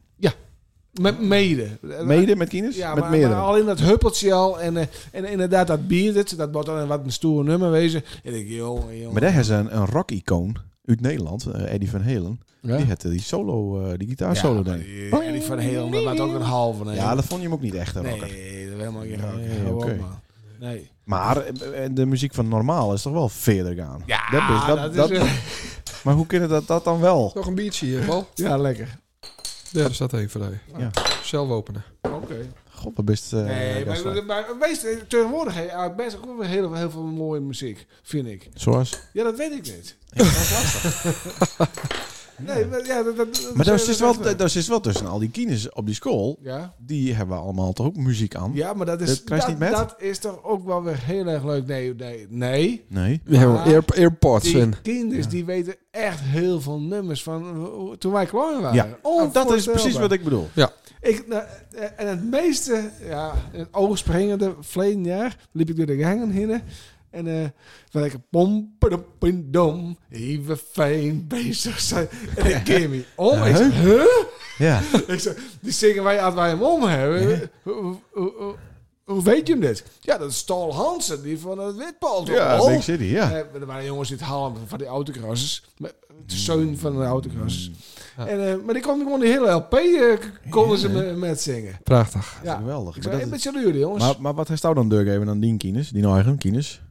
S2: Met mede.
S3: Mede met kines?
S2: Ja,
S3: met
S2: maar,
S3: meerdere.
S2: maar al in dat huppeltje al. En, eh, en inderdaad, dat bier, dat, dat wordt dan een wat een stoer nummer wezen. En ik, joh, joh.
S3: Maar daar is een, een rock-icoon uit Nederland, eh, Eddie van Helen. Die had eh, die solo, eh, die gitaarsolo
S2: ja,
S3: denk
S2: maar
S3: ik.
S2: die- En die van heel, maar maakt ook een halve. Nee.
S3: Ja, dat vond je hem ook niet echt een
S2: nee,
S3: rocker.
S2: dat is helemaal geen rock.
S3: Nee,
S2: Gewoon,
S3: oké.
S2: man. Nee.
S3: Maar eh, eh, de muziek van normaal is toch wel verder gaan.
S2: Ja,
S3: dat is, dat, dat, maar hoe kunnen dat, dat dan wel?
S1: Nog een biertje hier, Paul.
S2: ja, lekker.
S1: Ja, er staat één voor jou.
S3: Ja.
S1: Zelf openen.
S2: Oké.
S3: God, dat best. eh,
S2: nee,
S3: best wel.
S2: maar, maar wees tegenwoordig hè, uit best ook weer heel, heel veel mooie muziek, vind ik.
S3: Zoals.
S2: Ja, dat weet ik niet. Nee, maar ja, dat, dat, dat-
S3: Maar daar
S2: dat-
S3: is dus wel, daar is wel tussen al die kines op die school.
S2: Ja.
S3: Die hebben allemaal toch ook muziek aan?
S2: Ja, maar dat is,
S3: Dat
S2: dat,
S3: krijg je niet met?
S2: dat is toch ook wel weer heel erg leuk. Nee, nee, nee.
S3: Nee.
S1: We hebben air, airpods in.
S2: Die kinders die weten echt heel veel nummers van hoe- toen wij klein waren.
S3: Ja. Oh, dat is precies
S2: Onvoorstelbaar.
S3: wat ik bedoel.
S2: Ik, nou, eh, en het meeste, ja, in het oogspringende verleden jaar liep ik door de gangen heen. En eh waar ik pom, padam, pim, dom, even fijn bezig zijn. En ik keer me om. Ik zei, huh?
S3: Ja.
S2: Ik zei, die zingen wij als wij hem om hebben. Hoe, hoe- hoe- hoe weet je hem dit? Ja, dat is Tal Hansen, die van het Witpaal.
S3: Ja, Big City, ja.
S2: Eh, maar er waren jongens die het halen van die autocrossers. Maar De zoon van de autocrossers.
S3: Mm.
S1: Ja.
S2: En, eh, maar die konden gewoon de hele LP eh, k- konden ze me- met zingen.
S1: Prachtig.
S2: Ja.
S3: Geweldig.
S2: Ik
S3: Maar,
S2: ben
S3: dat
S2: een
S3: is-
S2: beetje luur, jongens.
S3: maar, maar wat heeft jou dan doorgegeven dan die kines? Die nou eigen kines?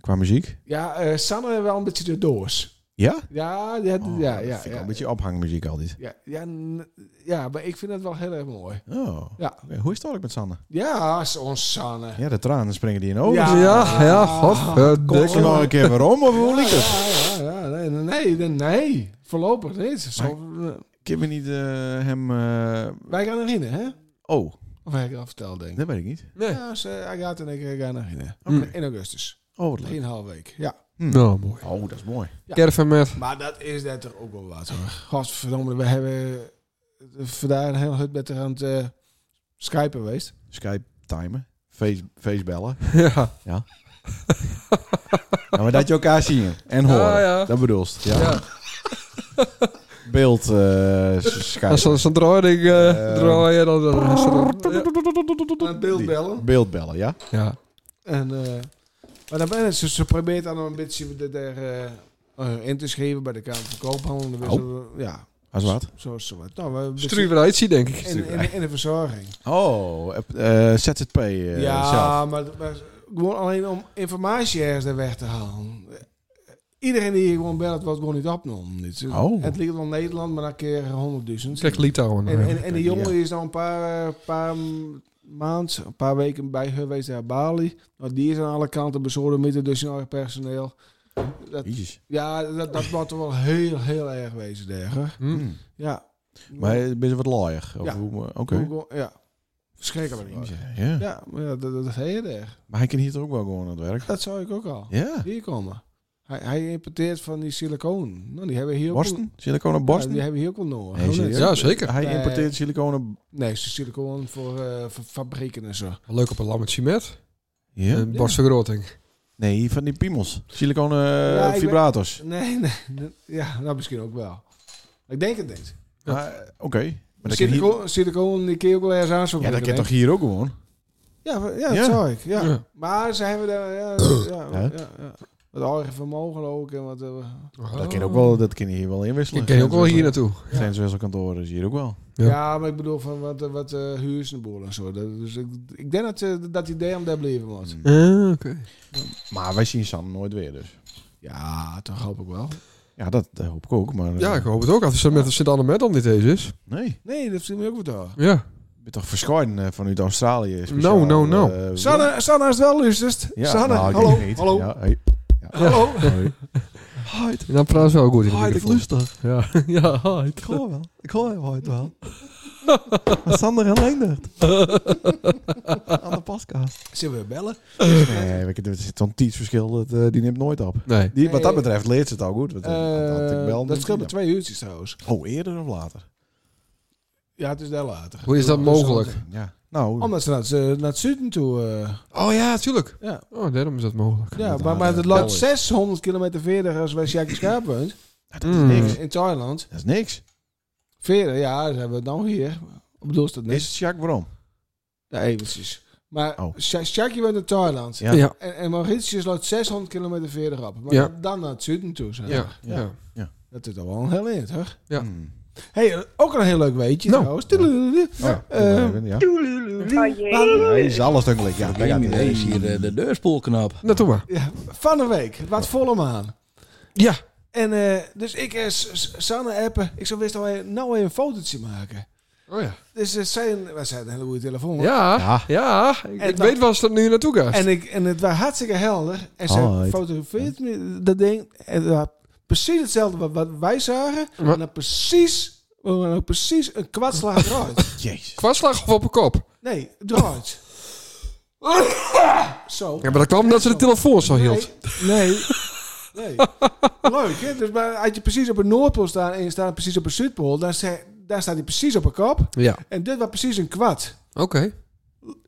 S3: Qua muziek?
S2: ja, eh Sanne wel een beetje de doors.
S3: Ja?
S2: Ja, ja,
S3: Oh,
S2: ja,
S3: dat
S2: ja.
S3: vind ik al
S2: Ja,
S3: een beetje ophangmuziek altijd.
S2: ja, ja, n- ja, maar ik vind het wel heel erg mooi.
S3: Oh.
S2: Ja.
S3: Oké, hoe is het eigenlijk met Sanne?
S2: Ja, ons Sanne.
S3: Ja, de tranen springen die in over.
S2: Ja.
S1: Ja, ja, godverdikke.
S3: Denk er nog een keer weer om, of hoe liep het?
S2: Ja, ja, ja, nee, nee, nee, nee. voorlopig niet. Zo, eh,
S3: Ik heb me niet eh, hem... eh,
S2: wij gaan erin, hè?
S3: Oh,
S2: Of heb ik al verteld, denk ik.
S3: dat weet ik niet.
S1: Nee.
S2: Ja, ze, hij gaat en ik eh, gaan erin.
S1: Mm.
S3: Hmm.
S2: In augustus.
S3: Oh, wat leuk.
S2: Drieënhalf week, ja.
S3: Hm.
S1: Nou, mooi.
S3: Oh, dat is mooi.
S2: Ja.
S1: Caravan met.
S2: Maar dat is dat er ook wel wat, hoor. Godverdomme, we hebben eh, vandaag een heel hut met haar aan het eh, skypen geweest.
S3: Skype timen. Face, facebellen.
S1: Ja.
S3: ja, maar dat je elkaar zien en
S2: Ah,
S3: horen.
S1: Ja, ja.
S3: Dat bedoelst. Ja.
S1: ja.
S3: Beeld eh, s-
S1: Als
S3: Skype.
S1: ze zo'n draaiding
S3: Ehm.
S1: draaien, dan... dan is er- ja.
S2: Een beeld bellen.
S3: Beeldbellen, ja.
S1: Ja.
S2: En, eh, maar dan ben ik, ze, ze probeert dan een beetje de, de, eh, eh, in te schrijven bij de Kamer van Koophandel. Dan wisselen
S3: Oh.
S2: we- Ja,
S3: Als wat?
S2: zo is het. Nou, we hebben
S1: Struur weer uitzien, denk ik.
S2: in, in, in de verzorging.
S3: Oh, eh, eh, ZZP eh,
S2: ja,
S3: zelf.
S2: Maar, maar gewoon alleen om informatie ergens er weg te halen. Iedereen die je gewoon belt, wordt gewoon niet opgenomen. Dit.
S3: Oh.
S2: Het ligt wel in Nederland, maar dan keer 100.000.
S1: Zeg Litouwen.
S2: En,
S1: ja.
S2: en, en die jongen die is nou een paar, eh, paar maanden, een paar weken bij haar geweest naar Bali. Maar die is aan alle kanten bezorgd met dus zijn eigen personeel. Dat,
S3: Jezus.
S2: ja, dat, dat wordt wel heel, heel erg wezen, daar, hoor.
S1: Hm.
S3: Hm.
S2: Ja.
S3: Maar ben je wat laaier? Of
S2: Hmm. Ja.
S3: hoe- Oké.
S2: Hoe- Ja. Verschrikkelijk.
S3: Ja.
S2: Ja, maar ja, dat, dat heel erg.
S3: Maar hij kan hier toch ook wel gewoon aan het werk?
S2: Dat zou ik ook al.
S3: Ja.
S2: Hier komen. Hij, hij importeert van die silicoon. Nou, die hebben we hier ook
S3: Borsten? Siliconen
S2: wel-
S3: borsten?
S2: Ja, die hebben we hier ook wel nodig.
S3: Nee,
S2: Hoe
S3: serieus?
S2: net?
S1: Ja, zeker.
S3: Hij
S2: Nee.
S3: importeert siliconen...
S2: Nee, ze silicoon voor, eh, voor fabrieken en zo.
S1: Leuk op een lammetje met.
S3: Ja?
S1: Een borstvergroting.
S3: Eh, Nee, van die piemels. Siliconen
S2: Ja, ik
S3: vibrators.
S2: Nee, nee. nee. Ja, nou misschien ook wel. Ik denk het niet.
S1: Ja.
S3: Maar, eh, Oké. Maar dat kan hier-
S2: Silicoon, silicoon, die kun je ook wel ergens aan zo
S3: Ja, dat kan toch hier ook gewoon?
S2: Ja, we- ja, dat
S3: Ja.
S2: zou ik. Ja.
S1: Ja.
S2: Maar ze hebben daar... Ja, ja,
S3: Hè?
S2: ja, ja. Wat eigen vermogen ook. En wat, eh,
S3: Dat kan ook
S2: Oh.
S3: wel, dat kan je hier wel inwisselen.
S1: Oh. Ik ken je ook wel hier naartoe.
S3: Grenswisselkantoren is hier ook wel.
S1: Ja.
S2: ja. maar ik bedoel van wat, eh, wat eh huurs en boel en zo. Dat, dus ik, ik denk dat eh, dat idee om daar blijven moet.
S3: Mm.
S1: Ah, Oké.
S3: Maar wij zien San nooit weer dus.
S2: Ja, dat hoop ik wel.
S3: Ja, dat eh, hoop ik ook, maar... eh,
S1: Ja, ik hoop het ook. Als het met de sint met dan niet eens is.
S3: Nee.
S2: Nee, dat viel me ook wat aan.
S1: Ja.
S3: Je bent toch verschoiden eh, vanuit Australië?
S1: No, no, no.
S3: eh,
S2: Sanne, Sanne is wel luistert.
S3: Ja,
S2: Sanne,
S3: nou, ik denk
S2: hallo,
S3: niet.
S2: hallo,
S3: Ja, hey.
S2: hallo.
S3: Hoi.
S1: En dan praat ze wel goed in de
S6: Hoi, ik
S1: microfoon.
S6: lustig.
S1: Ja. ja, hi.
S6: Ik hoor wel. Ik hoor jou ooit wel.
S3: Met Sander en Leendert. Aan de podcast.
S2: Zullen we bellen?
S3: Nee, we- er zit zo'n tijdsverschil, dat, eh, die neemt nooit op.
S1: Nee.
S3: Die, wat dat
S2: Nee.
S3: betreft leert ze het al goed. want, eh, had ik
S2: Eh,
S3: wel
S2: dat
S3: niet
S2: scheelt me
S3: gedaan.
S2: twee uurtjes trouwens.
S3: Oh, eerder of later?
S2: Ja, het is daar later.
S1: Hoe is dat mogelijk?
S3: Ja. Nou,
S2: Omdat ze naar, het, eh, naar het zuiden toe... eh,
S1: Oh ja, tuurlijk.
S2: ja,
S1: Oh, daarom is dat mogelijk.
S2: ja
S3: dat
S2: maar, maar het
S3: harde
S2: loopt
S3: bel is.
S2: 600 kilometer verder als wij Sjaak Schaap woont.
S3: dat is
S1: Mm.
S3: niks.
S2: In Thailand.
S3: Dat is niks.
S2: Verder, ja, dat hebben we dan hier. Ik bedoel, is dat
S3: Is
S2: niks?
S3: het Jacques Brom?
S2: Ja, eventjes. Maar
S3: Oh.
S2: Sja- Sjaakje woont in Thailand.
S3: Ja.
S1: Ja.
S2: En, en Mauritius loopt 600 kilometer verder op. Maar
S1: Ja.
S2: dan naar het zuiden toe. Zeg.
S1: Ja. Ja.
S3: Ja.
S2: Dat is toch wel een heel eind, hoor.
S1: Ja.
S3: Hmm.
S2: Hé, hey, eh, ook een heel leuk weetje
S1: Nou.
S2: trouwens. Tudelululu.
S3: Oh, ja.
S2: Eh,
S3: Doe maar even, ja. Ja, is alles duidelijk. Ja, daar gaat
S6: Jamie,
S3: het.
S6: daar is hier eh, de deurspoel knap.
S1: Nou, doe maar.
S2: Ja, van de week. Wat volle maan.
S1: Ja.
S2: En eh, dus ik eh, S- S- Sanne appen. Ik zou best wel even- nou even een fotootje maken.
S1: Oh ja.
S2: Dus eh, zij, wij zijn een hele goede telefoon. hoor.
S1: Ja.
S3: Ja.
S1: Ja. Ik,
S2: En
S1: ik
S2: dan-
S1: weet waar ze dat nu naartoe gaat.
S2: En, ik, en het was hartstikke helder. En
S3: Oh,
S2: zij
S3: het-
S2: fotografeert me dat ding. En het was precies hetzelfde wat, wat wij zagen.
S1: Wat?
S2: En dan precies, we waren ook precies een kwartslag eruit.
S3: Jezus.
S1: Kwaslag of op een kop?
S2: Nee, eruit. Zo.
S1: Ja, maar dat kwam omdat ze de telefoon zo hield.
S2: Nee. nee. Leuk, hè? Dus maar als je precies op een Noordpool staat en je staat precies op een Zuidpool, dan, sta- daar staat hij precies op een kop.
S1: Ja.
S2: En dit was precies een kwad.
S1: Oké.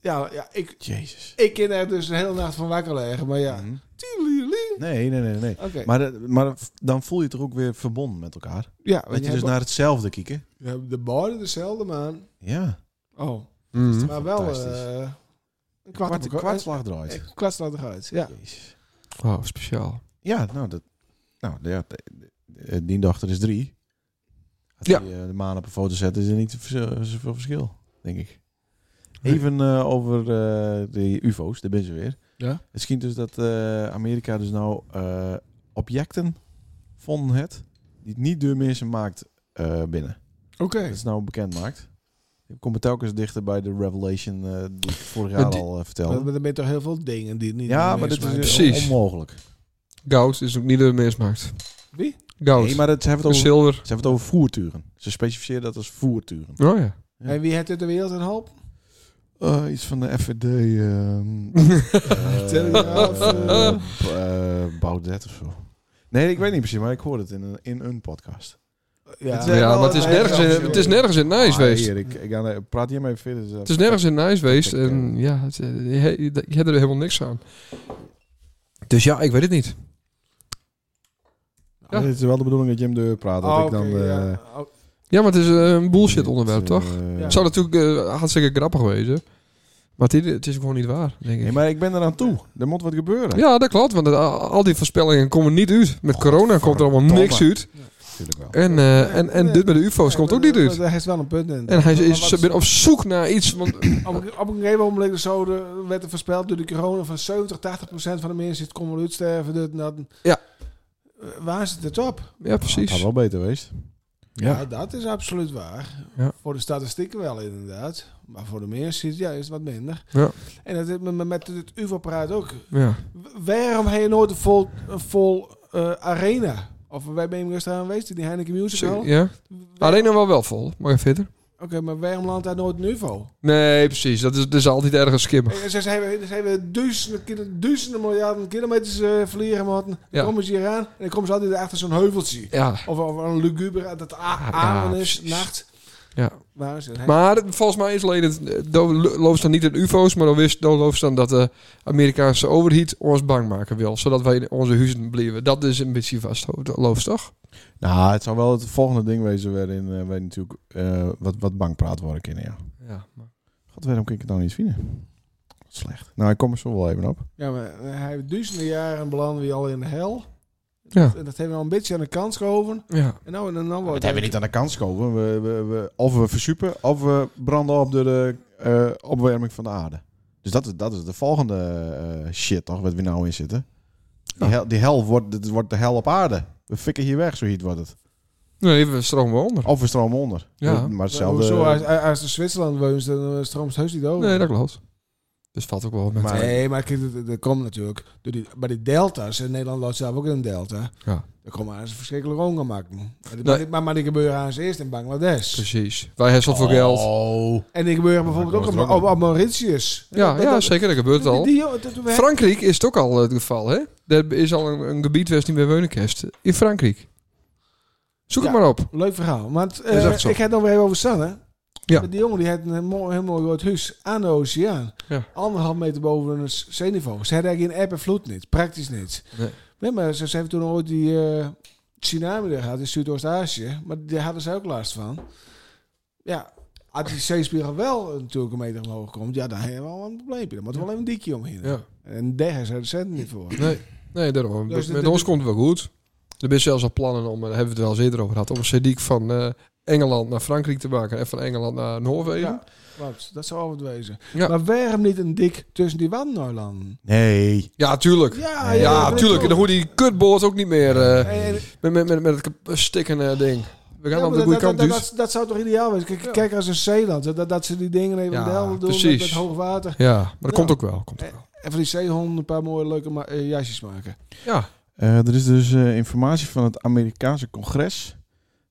S2: Ja, ja ik,
S3: Jezus.
S2: ik ken er dus een hele nacht van wakker liggen, maar ja.
S3: Mhm.
S2: Tielielie.
S3: Nee, nee, nee, nee.
S2: Oké.
S3: Maar, dat- maar dan voel je het er ook weer verbonden met elkaar.
S2: Ja,
S3: Dat je
S2: je
S3: dus naar hetzelfde kieken.
S2: de borden dezelfde, man.
S3: Ja.
S2: Oh,
S1: Mhm.
S2: maar wel
S3: Fantastisch.
S2: eh een kwad
S3: Kwart,
S2: op een
S3: kwartslag draait.
S2: Een kwad staat eruit, ja.
S3: Jezus.
S1: Oh, speciaal.
S3: Ja, nou, dat, nou ja, de- de- de- die dochter is drie. Als
S1: Ja.
S3: die eh, de maan op een foto zet, is er niet vers- zoveel verschil, denk ik.
S1: Nee.
S3: Even eh, over eh, de ufo's, daar ben ze weer.
S1: Ja.
S3: Het schijnt dus dat eh, Amerika dus nou eh, objecten vond het, die het niet door mensen maakt eh, binnen.
S2: Oké.
S3: Dat is nou bekend maakt. Ik kom telkens dichter bij de revelation eh, die ik vorig
S1: Maar
S3: jaar
S1: die-
S3: al eh,
S2: Maar
S3: vertelde.
S2: er zijn toch heel veel dingen die het niet
S3: Ja,
S2: meer
S3: maar dat is
S2: smaken.
S3: eh,
S1: Precies.
S3: onmogelijk.
S1: Goud is ook niet de meest maakt.
S2: Wie?
S1: Goud.
S3: Nee, maar dat, ze hebben het over
S1: Zilver.
S3: Ze hebben het over voerturen. Ze specificeren dat als voerturen.
S1: Oh ja.
S3: Ja.
S2: En wie heeft het de wereld een hoop?
S3: Eh, iets van de FVD. ehm eh,
S2: Telegraaf,
S3: eh, b- eh, Baudet of zo. Nee, ik weet niet precies, maar ik hoorde het in een, in een podcast. Het is-
S1: Ja, maar het is nergens in, het is nergens in het nice
S3: Ah,
S1: geweest.
S3: hier, ik, ik ga, eh, praat hier maar even verder.
S1: Het is nergens in nice geweest. En ja, het, eh, je, je, je hebt er helemaal niks aan. Dus ja, ik weet het niet.
S3: Ja. Het Ah, is wel de bedoeling dat Jim de praat. Dat
S2: Oh,
S3: ik dan,
S2: oké, ja.
S3: eh,
S2: Oh,
S1: Ja, maar het is eh, een bullshit onderwerp,
S3: eh,
S1: toch?
S2: Ja.
S1: Het zou natuurlijk eh, hartstikke grappig wezen. Maar het, is- het is gewoon niet waar, denk
S3: Nee,
S1: ik.
S3: maar ik ben eraan toe. Er moet wat gebeuren.
S1: Ja, dat klopt. Want het- al die voorspellingen komen niet uit. Met corona komt er allemaal
S3: Godverdomme.
S1: niks uit.
S3: Natuurlijk wel.
S1: En, eh, en, en dit met de ufo's
S2: Ja,
S1: komt ook
S2: dat-
S1: niet uit.
S2: dat- Daar eh, heeft wel een punt in.
S1: En hij
S2: Maar
S1: is
S2: wat-
S1: ze zijn op zoek naar iets. Want,
S2: Op, een- op een gegeven moment zo de, werd er voorspeld door de corona van 70, 80 procent van de mensen het komen uitsterven. Dit, en dat.
S1: Ja.
S2: Eh, Waar zit het op?
S1: ja,
S3: Het had
S1: precies.
S3: wel beter geweest.
S1: Ja.
S2: Nou, dat is absoluut waar.
S1: Ja.
S2: Voor de statistieken wel inderdaad. Maar voor de mensen ja, is het wat minder.
S1: Ja.
S2: En dat is met, met- met het UVO-praat ook.
S1: Ja.
S2: W- Waarom heb je nooit een vol, een vol eh, arena? Of wij ben je gisteren geweest in die Heineken Musical?
S1: ja. Arena wel wel vol. Maar even verder.
S2: Oké, maar waarom landt daar nooit een UVO?
S1: Nee, precies. Dat is, dat is altijd ergens skimmig.
S2: En Eh, Ze hebben, ze hebben duizenden, kilo- duizenden miljarden kilometers eh vliegen, man. Dan
S1: Ja.
S2: komen ze hier aan en dan komen ze altijd achter zo'n heuveltje.
S1: Ja.
S2: Of, of een luguber dat a-
S1: Ah, Ja,
S2: aan is,
S1: precies.
S2: nacht.
S1: Ja.
S2: Maar, ze,
S1: Maar volgens mij is alleen het. eh, Dan lo- loopt ze dan niet in UFO's, maar dan wist dan loopt ze dan dat de Amerikaanse overheid ons bang maken wil. Zodat wij in onze huizen blijven. Dat is een beetje vastloopt, toch?
S3: Nou, het zou wel het volgende ding wezen waarin eh, wij natuurlijk eh, wat, wat bankpraat worden kunnen, ja.
S1: Ja. maar-
S3: God, waarom kan ik het dan niet vinden? Wat slecht. Nou, ik kom er zo wel even op.
S2: ja, maar eh, hij heeft duizenden jaren belanden we al in de hel.
S1: Ja.
S2: En dat hebben we al een beetje aan de kant geschoven.
S1: ja.
S2: En nou en dan wordt
S3: Dat hebben we niet aan de kant geschoven. We, we, we, of we versuppen, of we branden op door de eh, opwarming van de aarde. Dus dat is, dat is de volgende eh, shit, toch? Wat we nou in zitten. Die hel, die hel wordt, dit wordt de hel op aarde. We fikken hier weg, zo heet wordt het.
S1: Nee, we stromen wel onder.
S3: Of we stromen onder.
S1: Ja.
S3: Maar
S2: Hoezo,
S3: hetzelfde...
S2: als, als de Zwitserland woont, dan eh, stroomt het eh, heus niet over.
S1: Nee, dat klopt. Dus valt ook wel met.
S3: Maar-
S2: Nee, maar kijk, dat, dat komt natuurlijk. Door die, bij die delta's, in Nederland loopt zelf ook in een delta.
S1: Ja.
S2: Daar komen aan ze verschrikkelijk honger maken. Maar, die-
S1: Nee. Dus-
S2: maar, maar die gebeuren aan ze eerst in Bangladesh.
S1: Precies. Wij hebben zoveel geld.
S6: Oh.
S2: En die gebeuren bijvoorbeeld ook
S3: komt
S2: op,
S3: er ook
S2: op, op Mauritius.
S1: Ja,
S2: Dat-
S1: ja
S2: dat-
S1: zeker. Dat gebeurt
S2: die-
S1: al.
S2: die jongen, dat- we-
S1: Frankrijk is het ook al eh, het geval, hè? Er is al een, een gebied waar ze niet meer wonen kerst. In Frankrijk. Zoek
S2: Ja.
S1: het maar op.
S2: Leuk verhaal. Want
S1: is
S2: eh
S1: echt zo.
S2: ik ga het nog weer even over Sanne.
S1: Ja.
S2: Die jongen die had een mooi, heel mooi groot huis aan de oceaan.
S1: Ja.
S2: Anderhalf meter boven het zeeniveau. Ze had eigenlijk in eb en vloed niet. Praktisch niet.
S1: Nee.
S2: Nee, maar ze, ze hebben toen ooit die eh, tsunami er gehad in Zuidoost-Azië. Maar daar hadden ze ook last van. Ja, als die zeespiegel wel natuurlijk een meter omhoog komt, ja, dan hebben we al een probleempje. Dan moet er wel even een dikje omheen.
S1: Ja.
S2: En daar hebben ze de cent niet voor.
S1: Nee, nee daarom.
S2: Dus
S1: Met
S2: dit-
S1: ons
S2: dit-
S1: komt het wel goed. Er zijn zelfs al plannen om, eh, daar hebben we het wel eens eerder over gehad, om een sediek van eh, Engeland naar Frankrijk te maken en van Engeland naar Noorwegen.
S2: Ja, klopt. dat zou het wezen.
S1: Ja.
S2: Maar waarom niet een dik tussen die wandenaarlanden?
S3: Nee.
S1: Ja, tuurlijk. Ja,
S2: Ja,
S1: tuurlijk. En dan hoort die kutboord ook niet meer eh,
S2: En- en-
S1: met, met, met, met het kap- stikkende ding. We gaan
S2: ja,
S1: op
S2: maar
S1: de
S2: dat,
S1: goede
S2: dat,
S1: kant,
S2: dat-
S1: dus.
S2: dat- dat zou toch ideaal zijn? Kijk,
S1: Ja.
S2: kijk als in Zeeland, dat- dat, dat ze die dingen even
S1: Ja,
S2: in de helder doen met,
S1: precies.
S2: met hoog water.
S1: Ja, maar dat
S2: Ja.
S1: komt ook wel. Komt ook
S2: Eh.
S1: wel.
S2: En van die zeehonden een paar mooie leuke ma- eh, jasjes maken.
S1: Ja,
S3: Eh, er is dus eh, informatie van het Amerikaanse congres.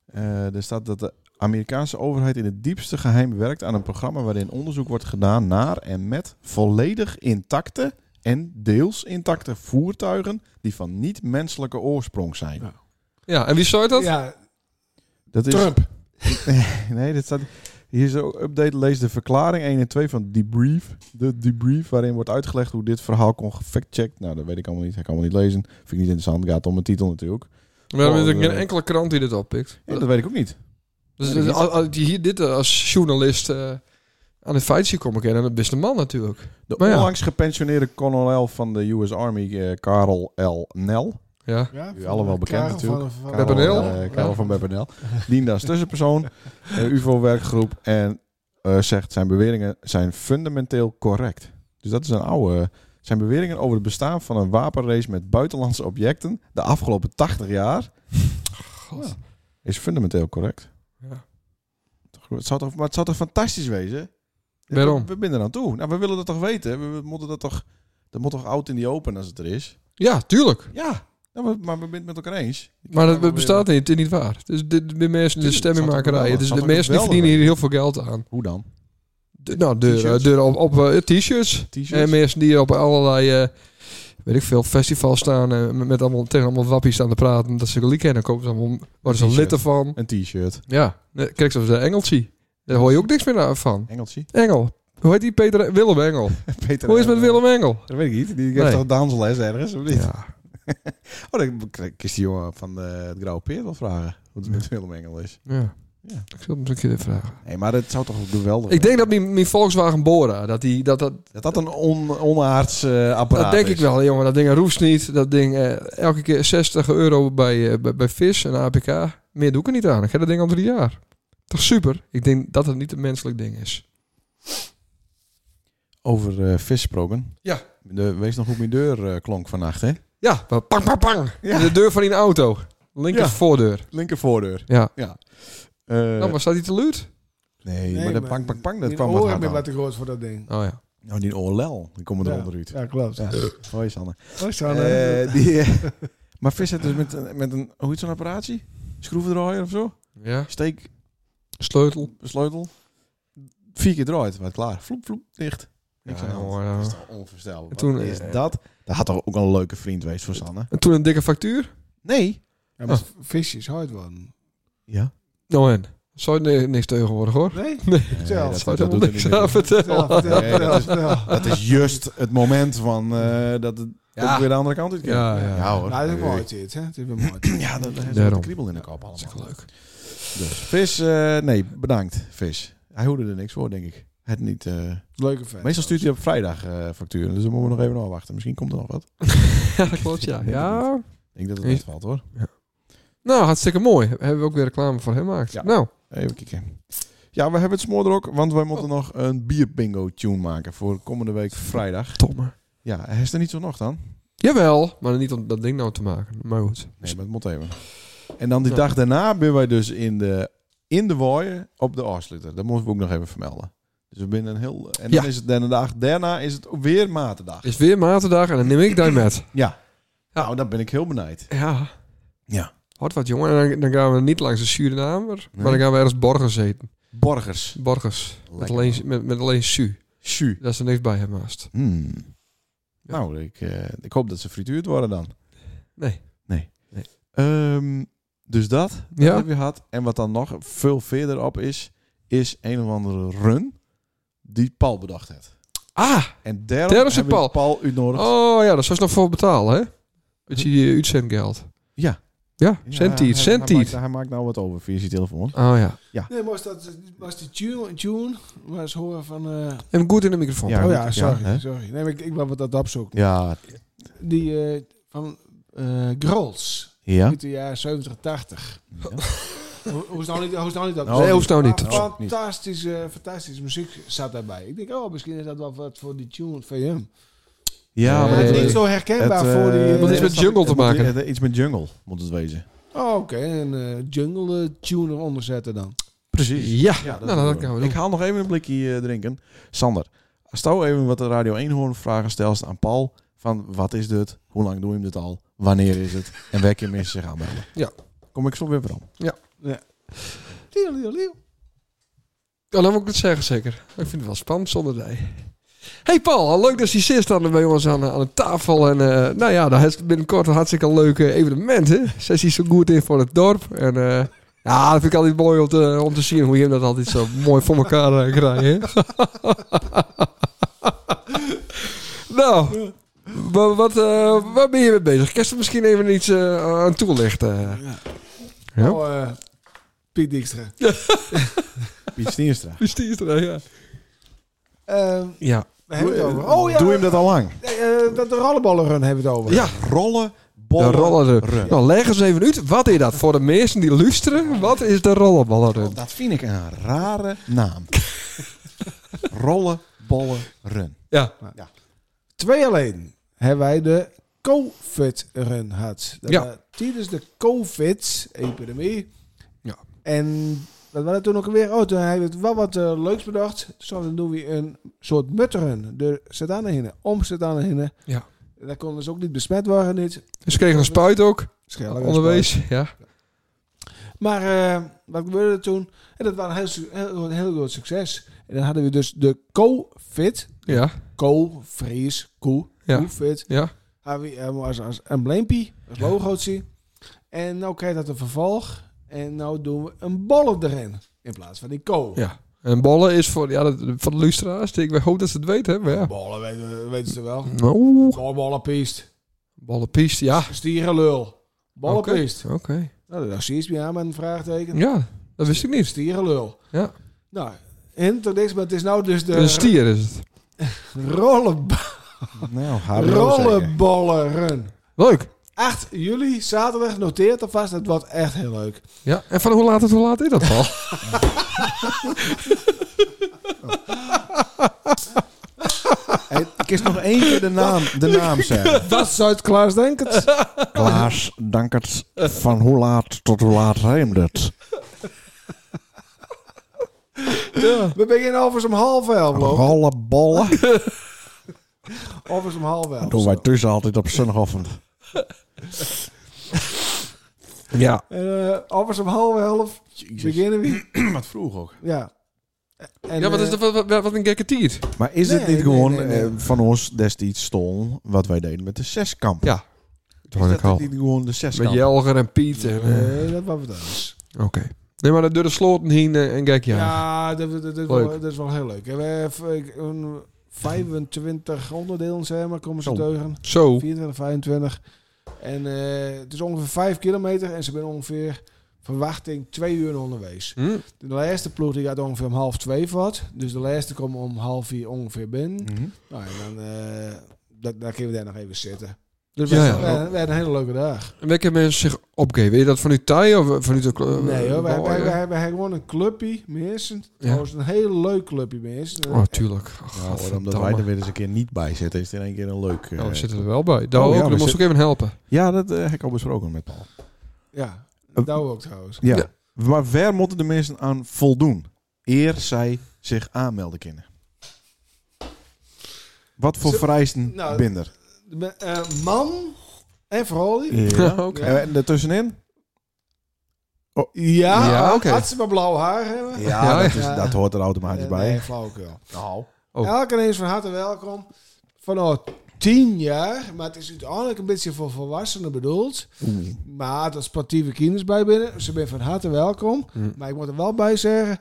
S3: Eh, er staat dat de Amerikaanse overheid in het diepste geheim werkt aan een programma waarin onderzoek wordt gedaan naar en met volledig intacte en deels intacte voertuigen die van niet-menselijke oorsprong zijn.
S1: ja. en wie zei dat?
S2: Ja,
S3: Dat is,
S2: Trump.
S3: Nee, dit staat. Hier is ook update. Lees de verklaring 1 en 2 van Debrief. De Debrief, waarin wordt uitgelegd hoe dit verhaal kon gefactcheckt. Nou, dat weet ik allemaal niet. Ik kan allemaal niet lezen. Vind ik niet interessant. Het gaat om een titel natuurlijk.
S1: We hebben
S3: Oh,
S1: natuurlijk
S3: eh.
S1: geen enkele krant die dit oppikt.
S3: Ja, dat weet ik ook niet.
S1: Dus
S3: weet ik
S1: dus
S3: niet.
S1: als, als je hier dit eh, als journalist eh, aan de feitje komt kennen, dan best een man natuurlijk.
S3: De
S1: Maar Nou ja.
S3: onlangs gepensioneerde kolonel van de US Army, eh, Karel L. Nel.
S1: Ja.
S2: Ja,
S3: U allemaal bekend natuurlijk.
S1: Karel, Beppenel.
S3: eh,
S1: Ja.
S3: Karel van Beppenel. Diende als tussenpersoon, eh, UFO-werkgroep. En eh, zegt zijn beweringen zijn fundamenteel correct. Dus dat is een oude... zijn beweringen over het bestaan van een wapenrace met buitenlandse objecten... de afgelopen 80 jaar
S1: God.
S3: is fundamenteel correct.
S1: Ja.
S3: Toch, Het zou toch, maar het zou toch fantastisch wezen?
S1: Waarom?
S3: We, we zijn er aan toe. Nou, we willen dat toch weten? We, we moeten dat toch... Dat moet toch oud in die open als het er is?
S1: Ja, tuurlijk.
S3: Ja. Nou, maar- maar we zijn het met elkaar eens.
S1: Maar
S3: kan
S1: dat
S3: wel
S1: bestaat niet, het is niet waar. Dus dit, de mensen, de
S3: Tuurlijk, zat
S1: stemmingmakerij.
S3: er wel-
S1: Dus
S3: zat
S1: de
S3: er wel
S1: mensen die
S3: wel
S1: verdienen
S3: in.
S1: hier heel veel geld aan.
S3: Hoe dan?
S1: De- nou, de,
S3: T-shirts.
S1: de, op, op eh, t-shirts.
S3: T-shirts?
S1: En mensen die op allerlei, eh, weet ik veel, festivals staan. eh, met met allemaal, tegen allemaal wappies staan te praten. Dat ze gelijk kennen. Dan komen ze allemaal, worden ze
S3: T-shirt.
S1: lid van.
S3: Een t-shirt.
S1: Ja, net- kijk zoals de Engeltje. Daar hoor je ook niks meer van.
S3: Engeltje.
S1: Engel. Hoe heet die Peter? E- Willem Engel.
S3: Peter
S1: Hoe is het met Willem Engel?
S3: Dat weet ik niet. Die heeft
S1: Nee.
S3: toch dansles ergens, of niet?
S1: Ja.
S3: Oh, dan kan ik eens die jongen van de, het Grauwe Peer wel vragen. Hoe het met Willem Engel is.
S1: ja.
S3: Ja.
S1: Ik zal hem eens een keer vragen.
S3: Nee, maar dat zou toch
S1: Ik
S3: geweldig zijn?
S1: denk dat mijn, mijn Volkswagen Bora, dat, die, dat, dat,
S3: Dat dat een on, onaards eh, apparaat
S1: Dat denk ik
S3: is.
S1: wel, jongen. Dat ding roest niet. Dat ding eh, elke keer 60 euro bij, eh, bij, bij vis en APK. Meer doe ik er niet aan. Ik heb dat ding al drie jaar. Toch super? Ik denk dat het niet een menselijk ding is.
S3: Over eh, vis gesproken.
S1: Ja.
S3: De, wees nog hoe mijn deur eh, klonk vannacht, hè?
S1: Ja, maar pang, pang, pang.
S3: Ja.
S1: De deur van die auto. Linker
S3: Ja.
S1: voordeur.
S3: Linker voordeur.
S1: Ja.
S3: Eh,
S1: Nou, maar staat hij te luid?
S3: nee, maar dat pang, pang, pang, dat kwam wat
S2: wat
S3: hard
S2: ben wat
S3: aan.
S2: te groot voor dat ding.
S1: Oh ja.
S3: Nou, die oorlel, die komen
S2: Ja.
S3: eronder uit.
S2: Ja, klopt.
S3: Ja. Hoi, Sanne.
S2: Oh, Sanne.
S3: Eh, die, eh, maar vis heeft dus met, een- met een, hoe heet zo'n apparatie? Schroevendraaier of zo?
S1: Ja.
S3: Steek,
S1: Sleutel.
S3: sleutel. Vier keer draait, werd klaar. Vloep, vloep, dicht. Niks
S1: Ja,
S3: aan de hand.
S1: jongen, ja.
S3: Dat is toch onvoorstelbaar.
S1: En toen,
S3: Wat is
S1: eh,
S3: dat? Dat had toch ook een leuke vriend geweest voor Sanne?
S1: En toen een dikke factuur.
S3: Nee.
S2: ja, maar visjes hard worden.
S3: Ja.
S1: Nou en? Zou je ni- niks tegenwoordig hoor.
S2: Nee?
S1: Nee. Zou
S2: Vertel.
S1: je
S3: dat
S1: helemaal
S3: doet er
S1: niks
S3: niet meer
S1: aan
S3: toe.
S1: vertellen?
S2: Vertel, vertel,
S3: Nee,
S2: vertel, Nou,
S3: dat is-
S2: vertel.
S3: Dat is juist het moment van eh, dat het
S1: Ja.
S3: ook weer de andere kant uit kan.
S1: Ja, ja.
S3: hoor. Eh,
S2: Nou, dat is mooi dit, hè? Dat is wel mooi.
S3: Ja, dat dat is
S1: Daarom.
S3: een kriebel in de kop
S1: Dat is
S3: allemaal.
S1: wel leuk.
S3: Dus vis, eh, nee, bedankt vis. Hij hoorde er niks voor, denk ik. Het niet. eh,
S2: Leuke vent.
S3: meestal stuurt hij op vrijdag eh, facturen, dus dan moeten we nog even afwachten. Misschien komt er nog wat.
S1: Ja, dat klopt, ja. Ja.
S3: Ik denk dat het uitvalt hoor.
S1: Nou, hartstikke mooi. Hebben we ook weer reclame voor hem gemaakt.
S3: Ja.
S1: Nou,
S3: Even kijken. Ja, we hebben het smoorder ook, want wij moeten nog een bierbingo-tune maken voor komende week vrijdag.
S1: Tomme.
S3: Ja, hij is er niet zo nog dan.
S1: Jawel, maar niet om dat ding nou te maken. Maar goed.
S3: Nee, maar het moet even. En dan die
S1: Ja.
S3: dag daarna ben wij dus in de, in de Wooien op de afsluiter. Dat moeten we ook nog even vermelden. Dus we binnen een heel... En
S1: Ja.
S3: dan is het de dag daarna is het weer matendag.
S1: Is weer maandag en dan neem ik daar met.
S3: Ja.
S1: Ja.
S3: Nou, dan ben ik heel benijd.
S1: Ja.
S3: Ja.
S1: Wat wat jongen. En dan, dan gaan we niet langs de Surinamer, maar
S3: Nee.
S1: dan gaan we ergens Borgers eten.
S3: Borgers.
S1: Borgers. Met
S3: Lekker,
S1: alleen,
S3: man.
S1: met, met alleen Su.
S3: Sju.
S1: Dat is er niks bij hem naast.
S3: Hmm. Nou, ik, eh, ik hoop dat ze frituurd worden dan.
S1: Nee.
S3: Ehm, dus dat, dat
S1: Ja.
S3: heb je gehad. En wat dan nog veel verder op is, is een of andere run die Paul bedacht heeft.
S1: Ah!
S3: En daarom
S1: Daarom zit
S3: hebben
S1: Paul.
S3: we Paul uitnodigd.
S1: Oh ja, daar zou ze nog voor betalen, hè? Met je uh, uitzendgeld.
S3: Ja.
S1: Ja,
S3: Ja,
S1: centiet,
S3: hij- Hij,
S1: centiet.
S3: maakt, hij maakt nou wat over via zijn telefoon.
S1: Oh ja.
S2: Nee, maar was, dat, was die tune, tune maar eens horen van... eh,
S1: En goed in de microfoon.
S3: Ja,
S2: oh
S3: goed,
S2: ja,
S3: ja,
S2: sorry,
S3: hè?
S2: sorry. Nee, maar ik, ik wou wat dat opzoeken.
S3: Ja,
S2: Die eh, van eh Grols,
S3: ja.
S2: uit de jaren 70, 80. Hoe hoe is nou niet, hoe is nou niet dat?
S3: Nou, Nee, hoe
S1: is nou niet?
S2: Maar
S3: Nou, niet.
S2: Fantastische, fantastische muziek zat daarbij. Ik denk, oh, misschien is dat wel wat voor die tune van hem.
S3: Ja,
S2: maar
S3: maar
S2: het
S3: dat
S2: is niet
S3: is
S2: zo herkenbaar
S3: het, eh,
S2: voor die... eh,
S1: Wat is met
S3: snap
S1: jungle
S3: ik.
S1: te
S3: Het moet-
S1: maken?
S3: eh, Iets met jungle moet het wezen.
S2: Oh, oké. Een eh, jungle eh, tune eronder zetten dan.
S3: Precies.
S1: Ja.
S3: Ja,
S1: nou, dat
S3: doen
S1: gaan
S3: we.
S1: we
S3: Ik
S1: doen.
S3: haal nog even een blikje eh, drinken. Sander, als jou even wat de Radio 1 hoorn vragen stelt aan Paul. Van wat is dit? Hoe lang doen we dit al? Wanneer is het? En welke mensen zich aanmelden?
S1: Ja.
S3: Kom ik zo weer weer om.
S2: Leeuw, leeuw, leeuw.
S1: Ja, dan moet ik het zeggen, zeker. Ik vind het wel spannend zonder jij. Hey Paul, leuk dat je zit dan bij ons aan, eh, aan de tafel. En eh, nou ja, dat is binnenkort een hartstikke leuk eh, evenement. Hè? Sessie zo goed in voor het dorp. En eh, ja, dat vind ik altijd mooi om te, om te zien hoe je dat altijd zo mooi voor elkaar eh, krijgt. hè. nou, wa- wat, eh, waar ben je mee bezig? Kerst misschien even iets eh, aan toelichten. Ja.
S2: Oh, eh, Piet Dijkstra.
S3: Piet Stienstra.
S1: Wie is er, ja.
S2: Eh,
S1: Ja.
S2: we hebben het over.
S3: Eh,
S2: Oh ja,
S3: Doe je hem dat al lang?
S2: eh, eh, dat de rollenballenrun hebben we het over.
S1: Ja.
S3: Rollen,
S1: De
S3: bollen,
S1: rollenrun.
S3: run.
S1: Nou, leg eens even uit. Wat is dat? Voor de mensen die luisteren, wat is de rollenballenrun?
S3: Dat vind ik een rare naam. rollen, bollen, run.
S1: Ja.
S2: Nou, Twee alleen hebben wij de COVID-run gehad. Dat
S1: Ja.
S2: was Tijdens de COVID-epidemie.
S1: Ja.
S2: En wat was dat toen ook alweer? Oh, toen hebben we wel wat eh, leuks bedacht. Zo, dan doen we een soort mutterrun. De Sedanahinnen, om Sedanahinnen.
S1: Ja.
S2: Daar konden ze ook niet besmet worden, niet.
S1: Dus ze kregen een spuit ook.
S2: Schellen-
S1: Onderwijs. Ja.
S2: Maar eh, wat gebeurde er toen? En dat was een heel, su- heel, een heel groot succes. En dan hadden we dus de COVID.
S1: Ja.
S2: Co, Fries, Koe,
S1: Ja.
S2: COVID.
S1: Ja.
S2: Hebben we eh, als, als embleempje, als logootje. En nou krijgt dat een vervolg. En nou doen we een bollen erin. In plaats van die ko.
S1: Ja. En ballen is voor, ja, dat, voor de luisteraars. Ik hoop dat ze het weten. hè, Maar ja.
S2: Bollen weten, weten ze wel.
S3: Nou.
S1: Oeh.
S2: Bollenpiest.
S1: Ballenpiest. Ja.
S2: Stierenlul. Bollenpiest.
S1: Oké.
S2: Nou, dat zie je iets bij aan met een vraagteken.
S1: Ja. Dat wist ik niet.
S2: Stierenlul.
S1: Ja.
S2: Nou, en tot niks, maar het is nou dus
S3: Eh,
S2: de
S1: Een stier is het.
S2: rollen,
S3: Nou, hallo zeker.
S2: rollenballenrun.
S1: Leuk.
S2: 8 juli, zaterdag, noteert alvast. Het wordt echt heel leuk.
S1: Ja. En van hoe laat het, hoe laat is dat al?
S3: Hey, Ik is nog één keer de naam, de naam zeggen.
S2: Dat zou het Klaas Denkert.
S3: Klaas Dankert, van hoe laat tot hoe laat rijmt het?
S2: We beginnen overigens om half elf, Lo.
S3: Rollen, bollen.
S2: Overigens om half elf.
S3: Doen wij tussen altijd op zondagavond.
S1: Ja.
S2: En, eh, overigens om half elf beginnen we.
S3: Wat vroeg ook.
S2: Ja. En,
S1: Ja, wat is
S2: eh,
S1: dat? Wat, wat, wat een gekke tier.
S3: Maar is het
S2: Nee,
S3: niet
S2: nee,
S3: gewoon
S2: nee, nee.
S3: eh, van ons destijds stol wat wij deden met de zeskamp?
S1: Ja,
S3: Is dat niet gewoon de
S1: Met
S3: zeskamp?
S1: Jelger en Piet. en, eh,
S2: Nee, dat was wat anders.
S1: Oké. Nee, maar dat door de sloten heen eh, en gekje.
S2: Ja,
S1: Ja.
S2: dat, dat, dat, is
S1: Leuk.
S2: wel, dat is wel heel leuk. En we hebben eh, een 25 onderdelen, zeg maar, komen ze
S3: Zo.
S2: deugen.
S1: Zo.
S2: 24, 25. En eh, het is ongeveer 5 kilometer en ze zijn ongeveer verwachting 2 uur onderwijs.
S1: Hm?
S2: De laatste ploeg die gaat ongeveer om half 2 voort. Dus de laatste komen om half 4 ongeveer binnen.
S3: Mhm.
S2: Nou, en dan, eh dat, daar kunnen we daar nog even zitten. Dus
S1: Ja,
S2: we,
S1: ja.
S2: we, we hadden een hele leuke dag.
S1: En welke mensen zich opgeven? Is dat vanuit Thai of vanuit de klo-
S2: nee hoor, we
S1: eh,
S2: hebben wij, wij gewoon een clubje mensen. Trouwens, een heel leuk clubje mensen.
S1: Oh, tuurlijk.
S3: Ja, hoor, omdat wij er weer eens een keer niet bij zitten, is er een keer een leuk... eh,
S1: Ja, Oh, we zitten er wel bij. Daar
S3: Oh,
S1: ook,
S3: ja, we
S1: dan moest ik
S3: zitten-
S1: even helpen.
S3: ja, dat eh, heb ik al besproken met Paul.
S2: Ja, dat ook trouwens.
S3: Ja.
S1: Eh, Ja.
S3: Maar waar moeten de mensen aan voldoen? Eer zij zich aanmelden kunnen? Wat voor
S2: Zo-
S3: vereisten
S2: nou,
S3: binder?
S2: De- eh, man en vrouwelijk.
S1: Ja, Oh, oké.
S2: Ja.
S3: Eh, En daartussenin?
S2: Ja, eh,
S1: Ja, oké.
S2: had ze maar blauw haar hebben.
S3: Ja,
S1: Ja,
S3: dat, is,
S2: ja.
S3: dat hoort er automatisch
S2: Nee,
S3: bij.
S2: Nee, flauwekul.
S3: Nou.
S1: Oh.
S2: Elke een is van harte welkom. Vanaf tien jaar, maar het is uiteindelijk een beetje voor volwassenen bedoeld. Maar er sportieve kinders bij binnen. dus Ze zijn van harte welkom.
S1: Mm.
S2: Maar ik moet er wel bij zeggen,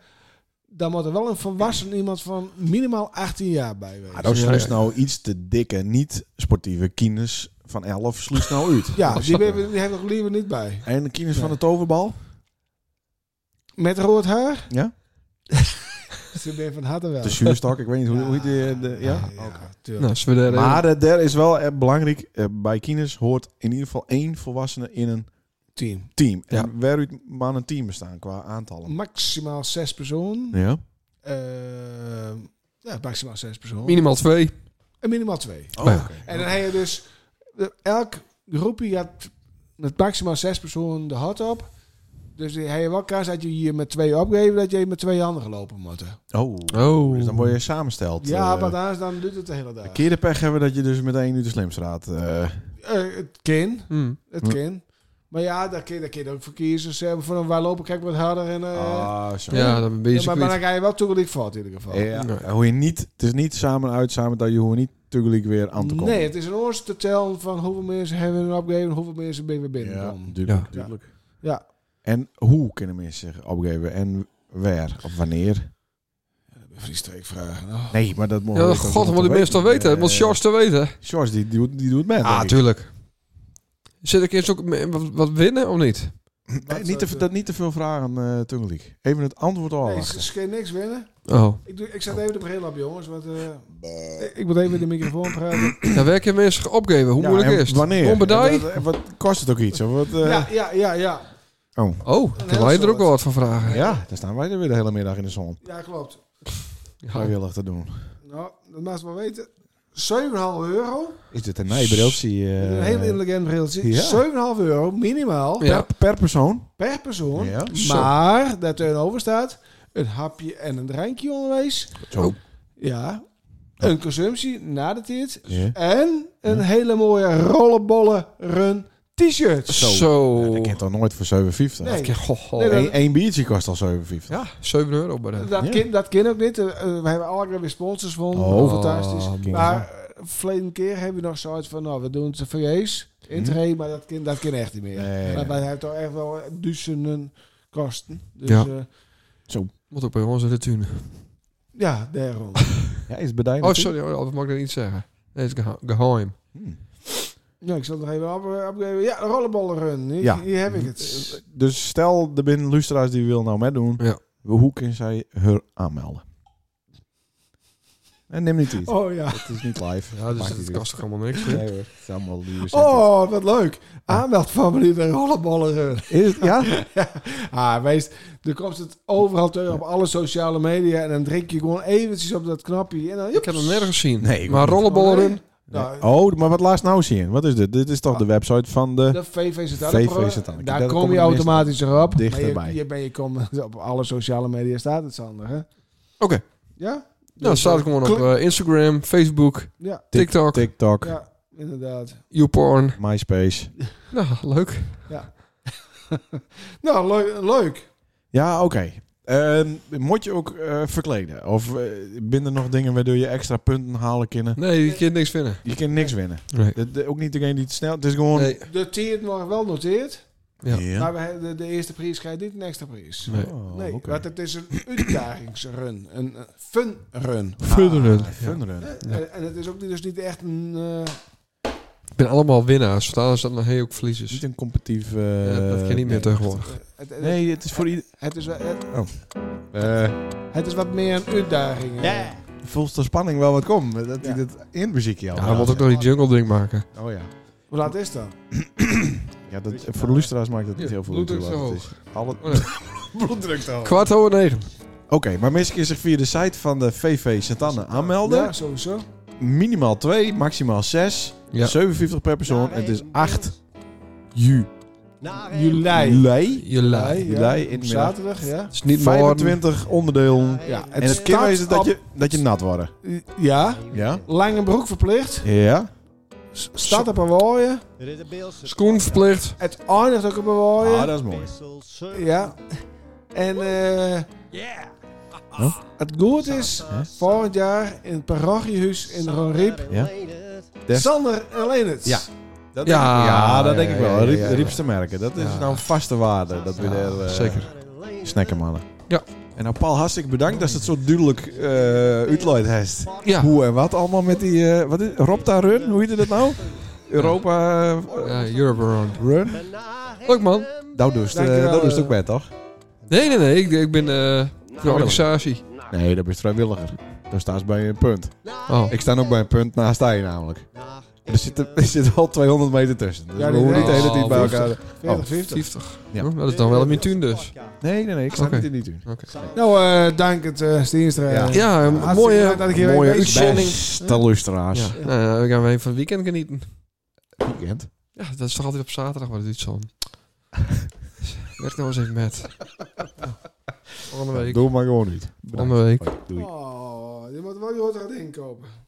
S2: daar moet er wel een volwassen iemand van minimaal 18 jaar bij wezen.
S3: Maar dan
S1: Ja,
S3: sluis
S1: ja.
S3: nou iets te dikke, niet-sportieve kines van 11 sluis nou uit.
S2: Ja, die, hebben- die heb ik liever niet bij.
S3: En de kines van de toverbal?
S2: Met rood haar?
S3: Ja.
S2: Ze zijn van harte
S3: De
S2: welkom.
S3: zuurstok, ik weet niet Dus hoe, hoe die... eh, De, ja?
S2: ja, tuurlijk.
S1: Nou, zullen we daar
S3: Maar eh, daar is wel eh, belangrijk, eh, bij kines hoort in ieder geval één volwassene in een
S2: Team.
S3: team.
S1: Ja.
S3: En waaruit man een team bestaan qua aantallen.
S2: Maximaal zes personen.
S3: Ja.
S2: Eh, ja, maximaal zes personen.
S1: minimaal twee.
S2: en minimaal twee.
S1: Ja.
S2: En dan heb je dus... de- Elk groepje gaat met maximaal zes personen de hot op. Dus dan heb je wel kans dat je hier met twee opgeven... dat je met twee anderen lopen moet.
S3: Oh.
S1: Oh.
S3: Dus dan word je samensteld.
S2: Ja,
S3: eh,
S2: maar anders dan doet het de hele dag.
S3: Een keer de pech hebben dat je dus met één uur de slimste raadt. eh.
S2: Eh, het kan.
S1: Hm.
S2: Het
S3: Hm.
S2: kan. Maar ja, daar kun je, daar kun je ook voor kiezen. Ze hebben van eh, waar lopen, kijk wat harder. En, eh,
S3: ah, zo.
S1: Ja, dan ben je
S2: ja, maar, maar
S1: ja,
S2: dan ga je wel tegelijk fout in ieder geval.
S3: Ja,
S1: Nee.
S3: hoe je niet, het is niet samen uit, samen dat je hoe niet tegelijk weer aan te komen.
S2: Nee, het is een oors te tellen van hoeveel mensen hebben hun opgegeven en hoeveel mensen ben we binnen.
S3: ja, dus-
S2: Ja.
S3: duidelijk,
S1: Ja.
S3: duidelijk.
S2: Ja.
S3: En hoe kunnen mensen zich opgeven en waar of wanneer?
S2: Vriestreek vragen. Oh.
S3: Nee, maar dat moet.
S1: ja, god, wat die mensen toch weten.
S3: Eh,
S1: Dat moet Sjors toch weten.
S3: Sjors, die, die, doet- die doet met.
S1: Ah, tuurlijk. Zit ik eerst ook me- wat, wat winnen of niet?
S2: Nou,
S3: Nee, eh, niet, te, dat, niet oh. te veel vragen, eh tegelijk. Even het antwoord al.
S2: Nee, ze geen niks winnen.
S1: Oh.
S2: Ik, doe, ik zet even de bril op, jongens. Want, eh, ik- ik moet even in de microfoon praten.
S1: Daar werken mensen zich opgeven. Hoe moeilijk is het?
S3: Wanneer?
S1: Onbedaai?
S3: En wat, en wat kost het ook iets? Of wat, eh,
S2: Ja, ja, ja, ja.
S1: Oh, daar kunnen wij er
S2: soort.
S1: ook wel wat van vragen.
S3: ja, daar staan wij er weer de hele middag in de zon.
S2: Ja, klopt.
S1: Ja.
S3: Vrijwillig te doen.
S2: Nou, dat mag je wel weten. 7,5 euro.
S3: Is dit een eh? nijbriltje?
S2: een heel intelligent briltje.
S3: ja.
S2: 7,5 euro minimaal
S1: Ja.
S3: Per persoon?
S2: per persoon.
S3: Ja.
S1: Zo.
S2: Maar daar tegenover staat een hapje en een drankje onderwijs.
S3: Zo.
S2: Ja. Een consumptie na de tijd.
S3: Oh. Ja.
S2: En een hele mooie rollenbollen run t-shirt.
S1: Zo.
S3: Ja, dat kent toch nooit voor 7,50?
S2: Nee.
S1: Kijk, goh, goh.
S2: Nee, dat-
S3: Eén één biertje kost al 7,50.
S1: Ja, 7 euro bij de...
S2: Dat,
S3: Ja.
S2: kind, dat kind ook niet. Eh, eh, we hebben allemaal weer sponsors van.
S3: Oh.
S2: fantastisch.
S1: Oh,
S2: maar eh, verleden keer hebben we nog zoiets van, nou, we doen het voor Jees. Intree, maar dat kind, dat kind echt niet meer.
S3: Hm? Nee.
S2: Maar wij hebben toch echt wel duizenden kosten. Dus
S1: Ja.
S2: ja,
S1: Moet ook bij ons in de tune.
S2: ja daarom.
S3: Ja, is bedijnen.
S1: Oh, sorry. Oh, dat mag ik dat niet zeggen. Nee, het is geha- geheim.
S3: Hmm.
S2: Ja, ik zal het nog even op- opgeven. Ja, rollenballenrun. Hier,
S3: Ja.
S2: hier heb ik het.
S3: Dus stel, er binnen luisteraars die wil nou meedoen.
S1: Ja.
S3: Hoe kunnen zij haar aanmelden? En neem niet iets.
S2: Oh ja.
S3: Het is niet live.
S1: Ja, dus
S3: Maakt
S1: het
S3: niet
S1: kost toch allemaal niks.
S3: uit. Nee hoor, het is allemaal die
S2: Oh, wat leuk. Aanmeldfamilie de rollenballenrun.
S3: Is het, ja?
S2: Ah, wees, er komt het overal terug op alle sociale media. En dan druk je gewoon eventjes op dat knopje. En dan,
S1: Ik heb hem nergens gezien.
S3: Nee, ik
S1: maar
S3: ook niet.
S1: rollenballen
S2: Oh,
S1: in.
S2: nee. Nou,
S3: Oh, maar wat laatst nou zien? Wat is dit? Dit is toch
S1: Ah.
S3: de website van de...
S2: De VV zit
S3: VV
S2: daar.
S3: zit aan de-
S2: Daar
S3: daar
S2: kom
S3: komen
S2: je
S3: de meeste
S2: automatisch erop.
S3: dichterbij.
S2: Maar Je, je, ben je komt op alle sociale media staat het, Sander. Hè?
S1: Oké.
S2: Ja? Dus,
S1: Nou, staat ik gewoon op
S2: Klik-
S1: eh, Instagram, Facebook,
S2: Ja,
S3: Tik-
S1: TikTok,
S3: TikTok,
S2: ja, inderdaad.
S1: YouPorn.
S3: MySpace.
S1: Nou, leuk.
S2: Nou, leuk. leuk.
S3: Ja, oké. Ehm moet je ook eh, verkleden? Of eh binnen nog dingen waardoor je extra punten halen kunnen?
S1: Nee, je kunt niks vinden.
S3: Je kunt niks winnen.
S1: Nee.
S3: Dat- dat- ook niet degene die het snel... Het is gewoon...
S1: Nee.
S2: De tiert nog wel noteerd.
S1: Ja.
S2: Maar Nou, we hebben de, de eerste prijs krijgt niet een extra prijs.
S1: Nee.
S3: Oh,
S2: nee,
S3: oké.
S2: want het is een uitdagingsrun. Een eh, fun run.
S1: Fudderend.
S3: Ah, funderen.
S1: Ja.
S2: En, en het is ook niet, dus niet echt een... eh,
S1: Ik ben allemaal winnaars. Verstaan ze dat nog heel ook verliezers.
S3: Niet een competitief... eh,
S1: dus- Ja, dat ken je niet meer tegenwoordig.
S2: het, eh, het, het-
S3: Nee, het is voor ieder...
S2: het, is, wel- het,
S3: eh
S2: het is wat meer een uitdaging. eh.
S4: Yeah.
S3: voelt de spanning wel wat komt. Dat hij
S2: Ja.
S3: dit in muziekje al
S1: Ja, dan moet ook nog die jungle drink maken.
S3: Oh ja.
S2: Hoe laat is dat?
S3: ja dat, voor de luisteraars maakt dat niet heel veel uit.
S1: Bloeddruk
S3: hoe laat
S1: zo
S3: het is. Alle...
S1: Oh, nee.
S3: Bloeddruk te hoog.
S1: Kwart over negen.
S3: Oké, maar mensen kunnen zich via de site van de VV Santanne aanmelden.
S2: Ja, sowieso.
S3: Minimaal 2, maximaal 6.
S1: Ja.
S3: 57 per persoon.
S4: Ja,
S3: het
S4: nee,
S3: is 8 juli.
S4: Naar
S2: Juli.
S3: Juli.
S1: Jullie.
S2: ja.
S3: Juli in de
S2: Op
S3: middag.
S2: zaterdag, ja.
S1: Het is niet morgen.
S3: 25 onderdelen.
S2: ja
S3: En het kind
S2: staat
S3: is het dat
S2: op-
S3: je, dat je nat wordt.
S2: Ja,
S3: Ja?
S2: lange broek verplicht.
S3: Ja.
S2: s- Staat op een waaien.
S4: Er is een Beelse
S1: Schoen verplicht.
S2: Het eindigt ook op een
S3: Ah,
S2: waaien.
S3: dat is mooi.
S4: Wissel Serving.
S2: Ja. En eh
S3: Huh?
S2: het goed is,
S3: Huh?
S2: volgend jaar in het parochiehuis in Ronriep,
S3: Ja. Yes.
S2: Sander en Leenert.
S3: Ja. Dat
S1: Ja.
S3: denk ik- ja, dat
S1: Ja,
S3: denk
S1: ja,
S3: ik wel.
S1: ja,
S3: Riep,
S1: ja, ja.
S3: Riepste merken. Dat is
S1: Ja.
S3: nou een vaste waarde. Dat we
S1: Ja,
S3: daar eh,
S1: zeker.
S3: snacken, mannen.
S1: Ja.
S3: En nou, Paul, hartstikke bedankt dat ze het zo duidelijk eh uitleid heeft.
S1: Ja.
S3: Hoe en wat allemaal met die... eh, wat is Rob daar Run? Hoe heet dat nou? Europa eh,
S1: Ja, Europe Run.
S3: Run?
S1: Leuk man.
S3: Nou, dus, eh,
S2: Dankjewel,
S3: nou doe je het
S2: eh.
S3: ook bij, toch?
S1: Nee, nee, nee. Ik, ik ben eh voor de organisatie.
S3: Nee, dat is vrijwilliger. Daar staat bij een punt.
S1: Oh.
S3: Ik sta ook bij een punt naast hij namelijk. Er zit, er zit al 200 meter tussen. Dus
S2: Ja,
S3: we
S2: die-
S3: hoeven niet de hele
S1: Oh,
S3: tijd bij elkaar...
S2: 40,
S3: Oh.
S2: 50.
S1: 50.
S3: Ja.
S1: Hm, Dat is dan wel een mintuun dus.
S3: Nee, nee, nee. Ik sta
S1: Oké.
S3: niet in die tuin.
S2: Nou, eh, dank het, eh Steenstra.
S3: Ja.
S1: Ja, een
S2: Hartstikke
S1: mooie,
S2: leuk dat ik hier
S1: mooie
S2: weer bezig ben.
S1: uitzending.
S3: Beste luisteraars.
S1: Ja. Nou, ja, we gaan weer van het weekend genieten.
S3: Weekend.
S1: Ja, dat is toch altijd op zaterdag wat het doet zo. Werk nou eens even met. Ja. Volgende week.
S3: Doe maar gewoon niet.
S1: Volgende week.
S3: Doei.
S2: Oh, je moet wel je hoort erin kopen.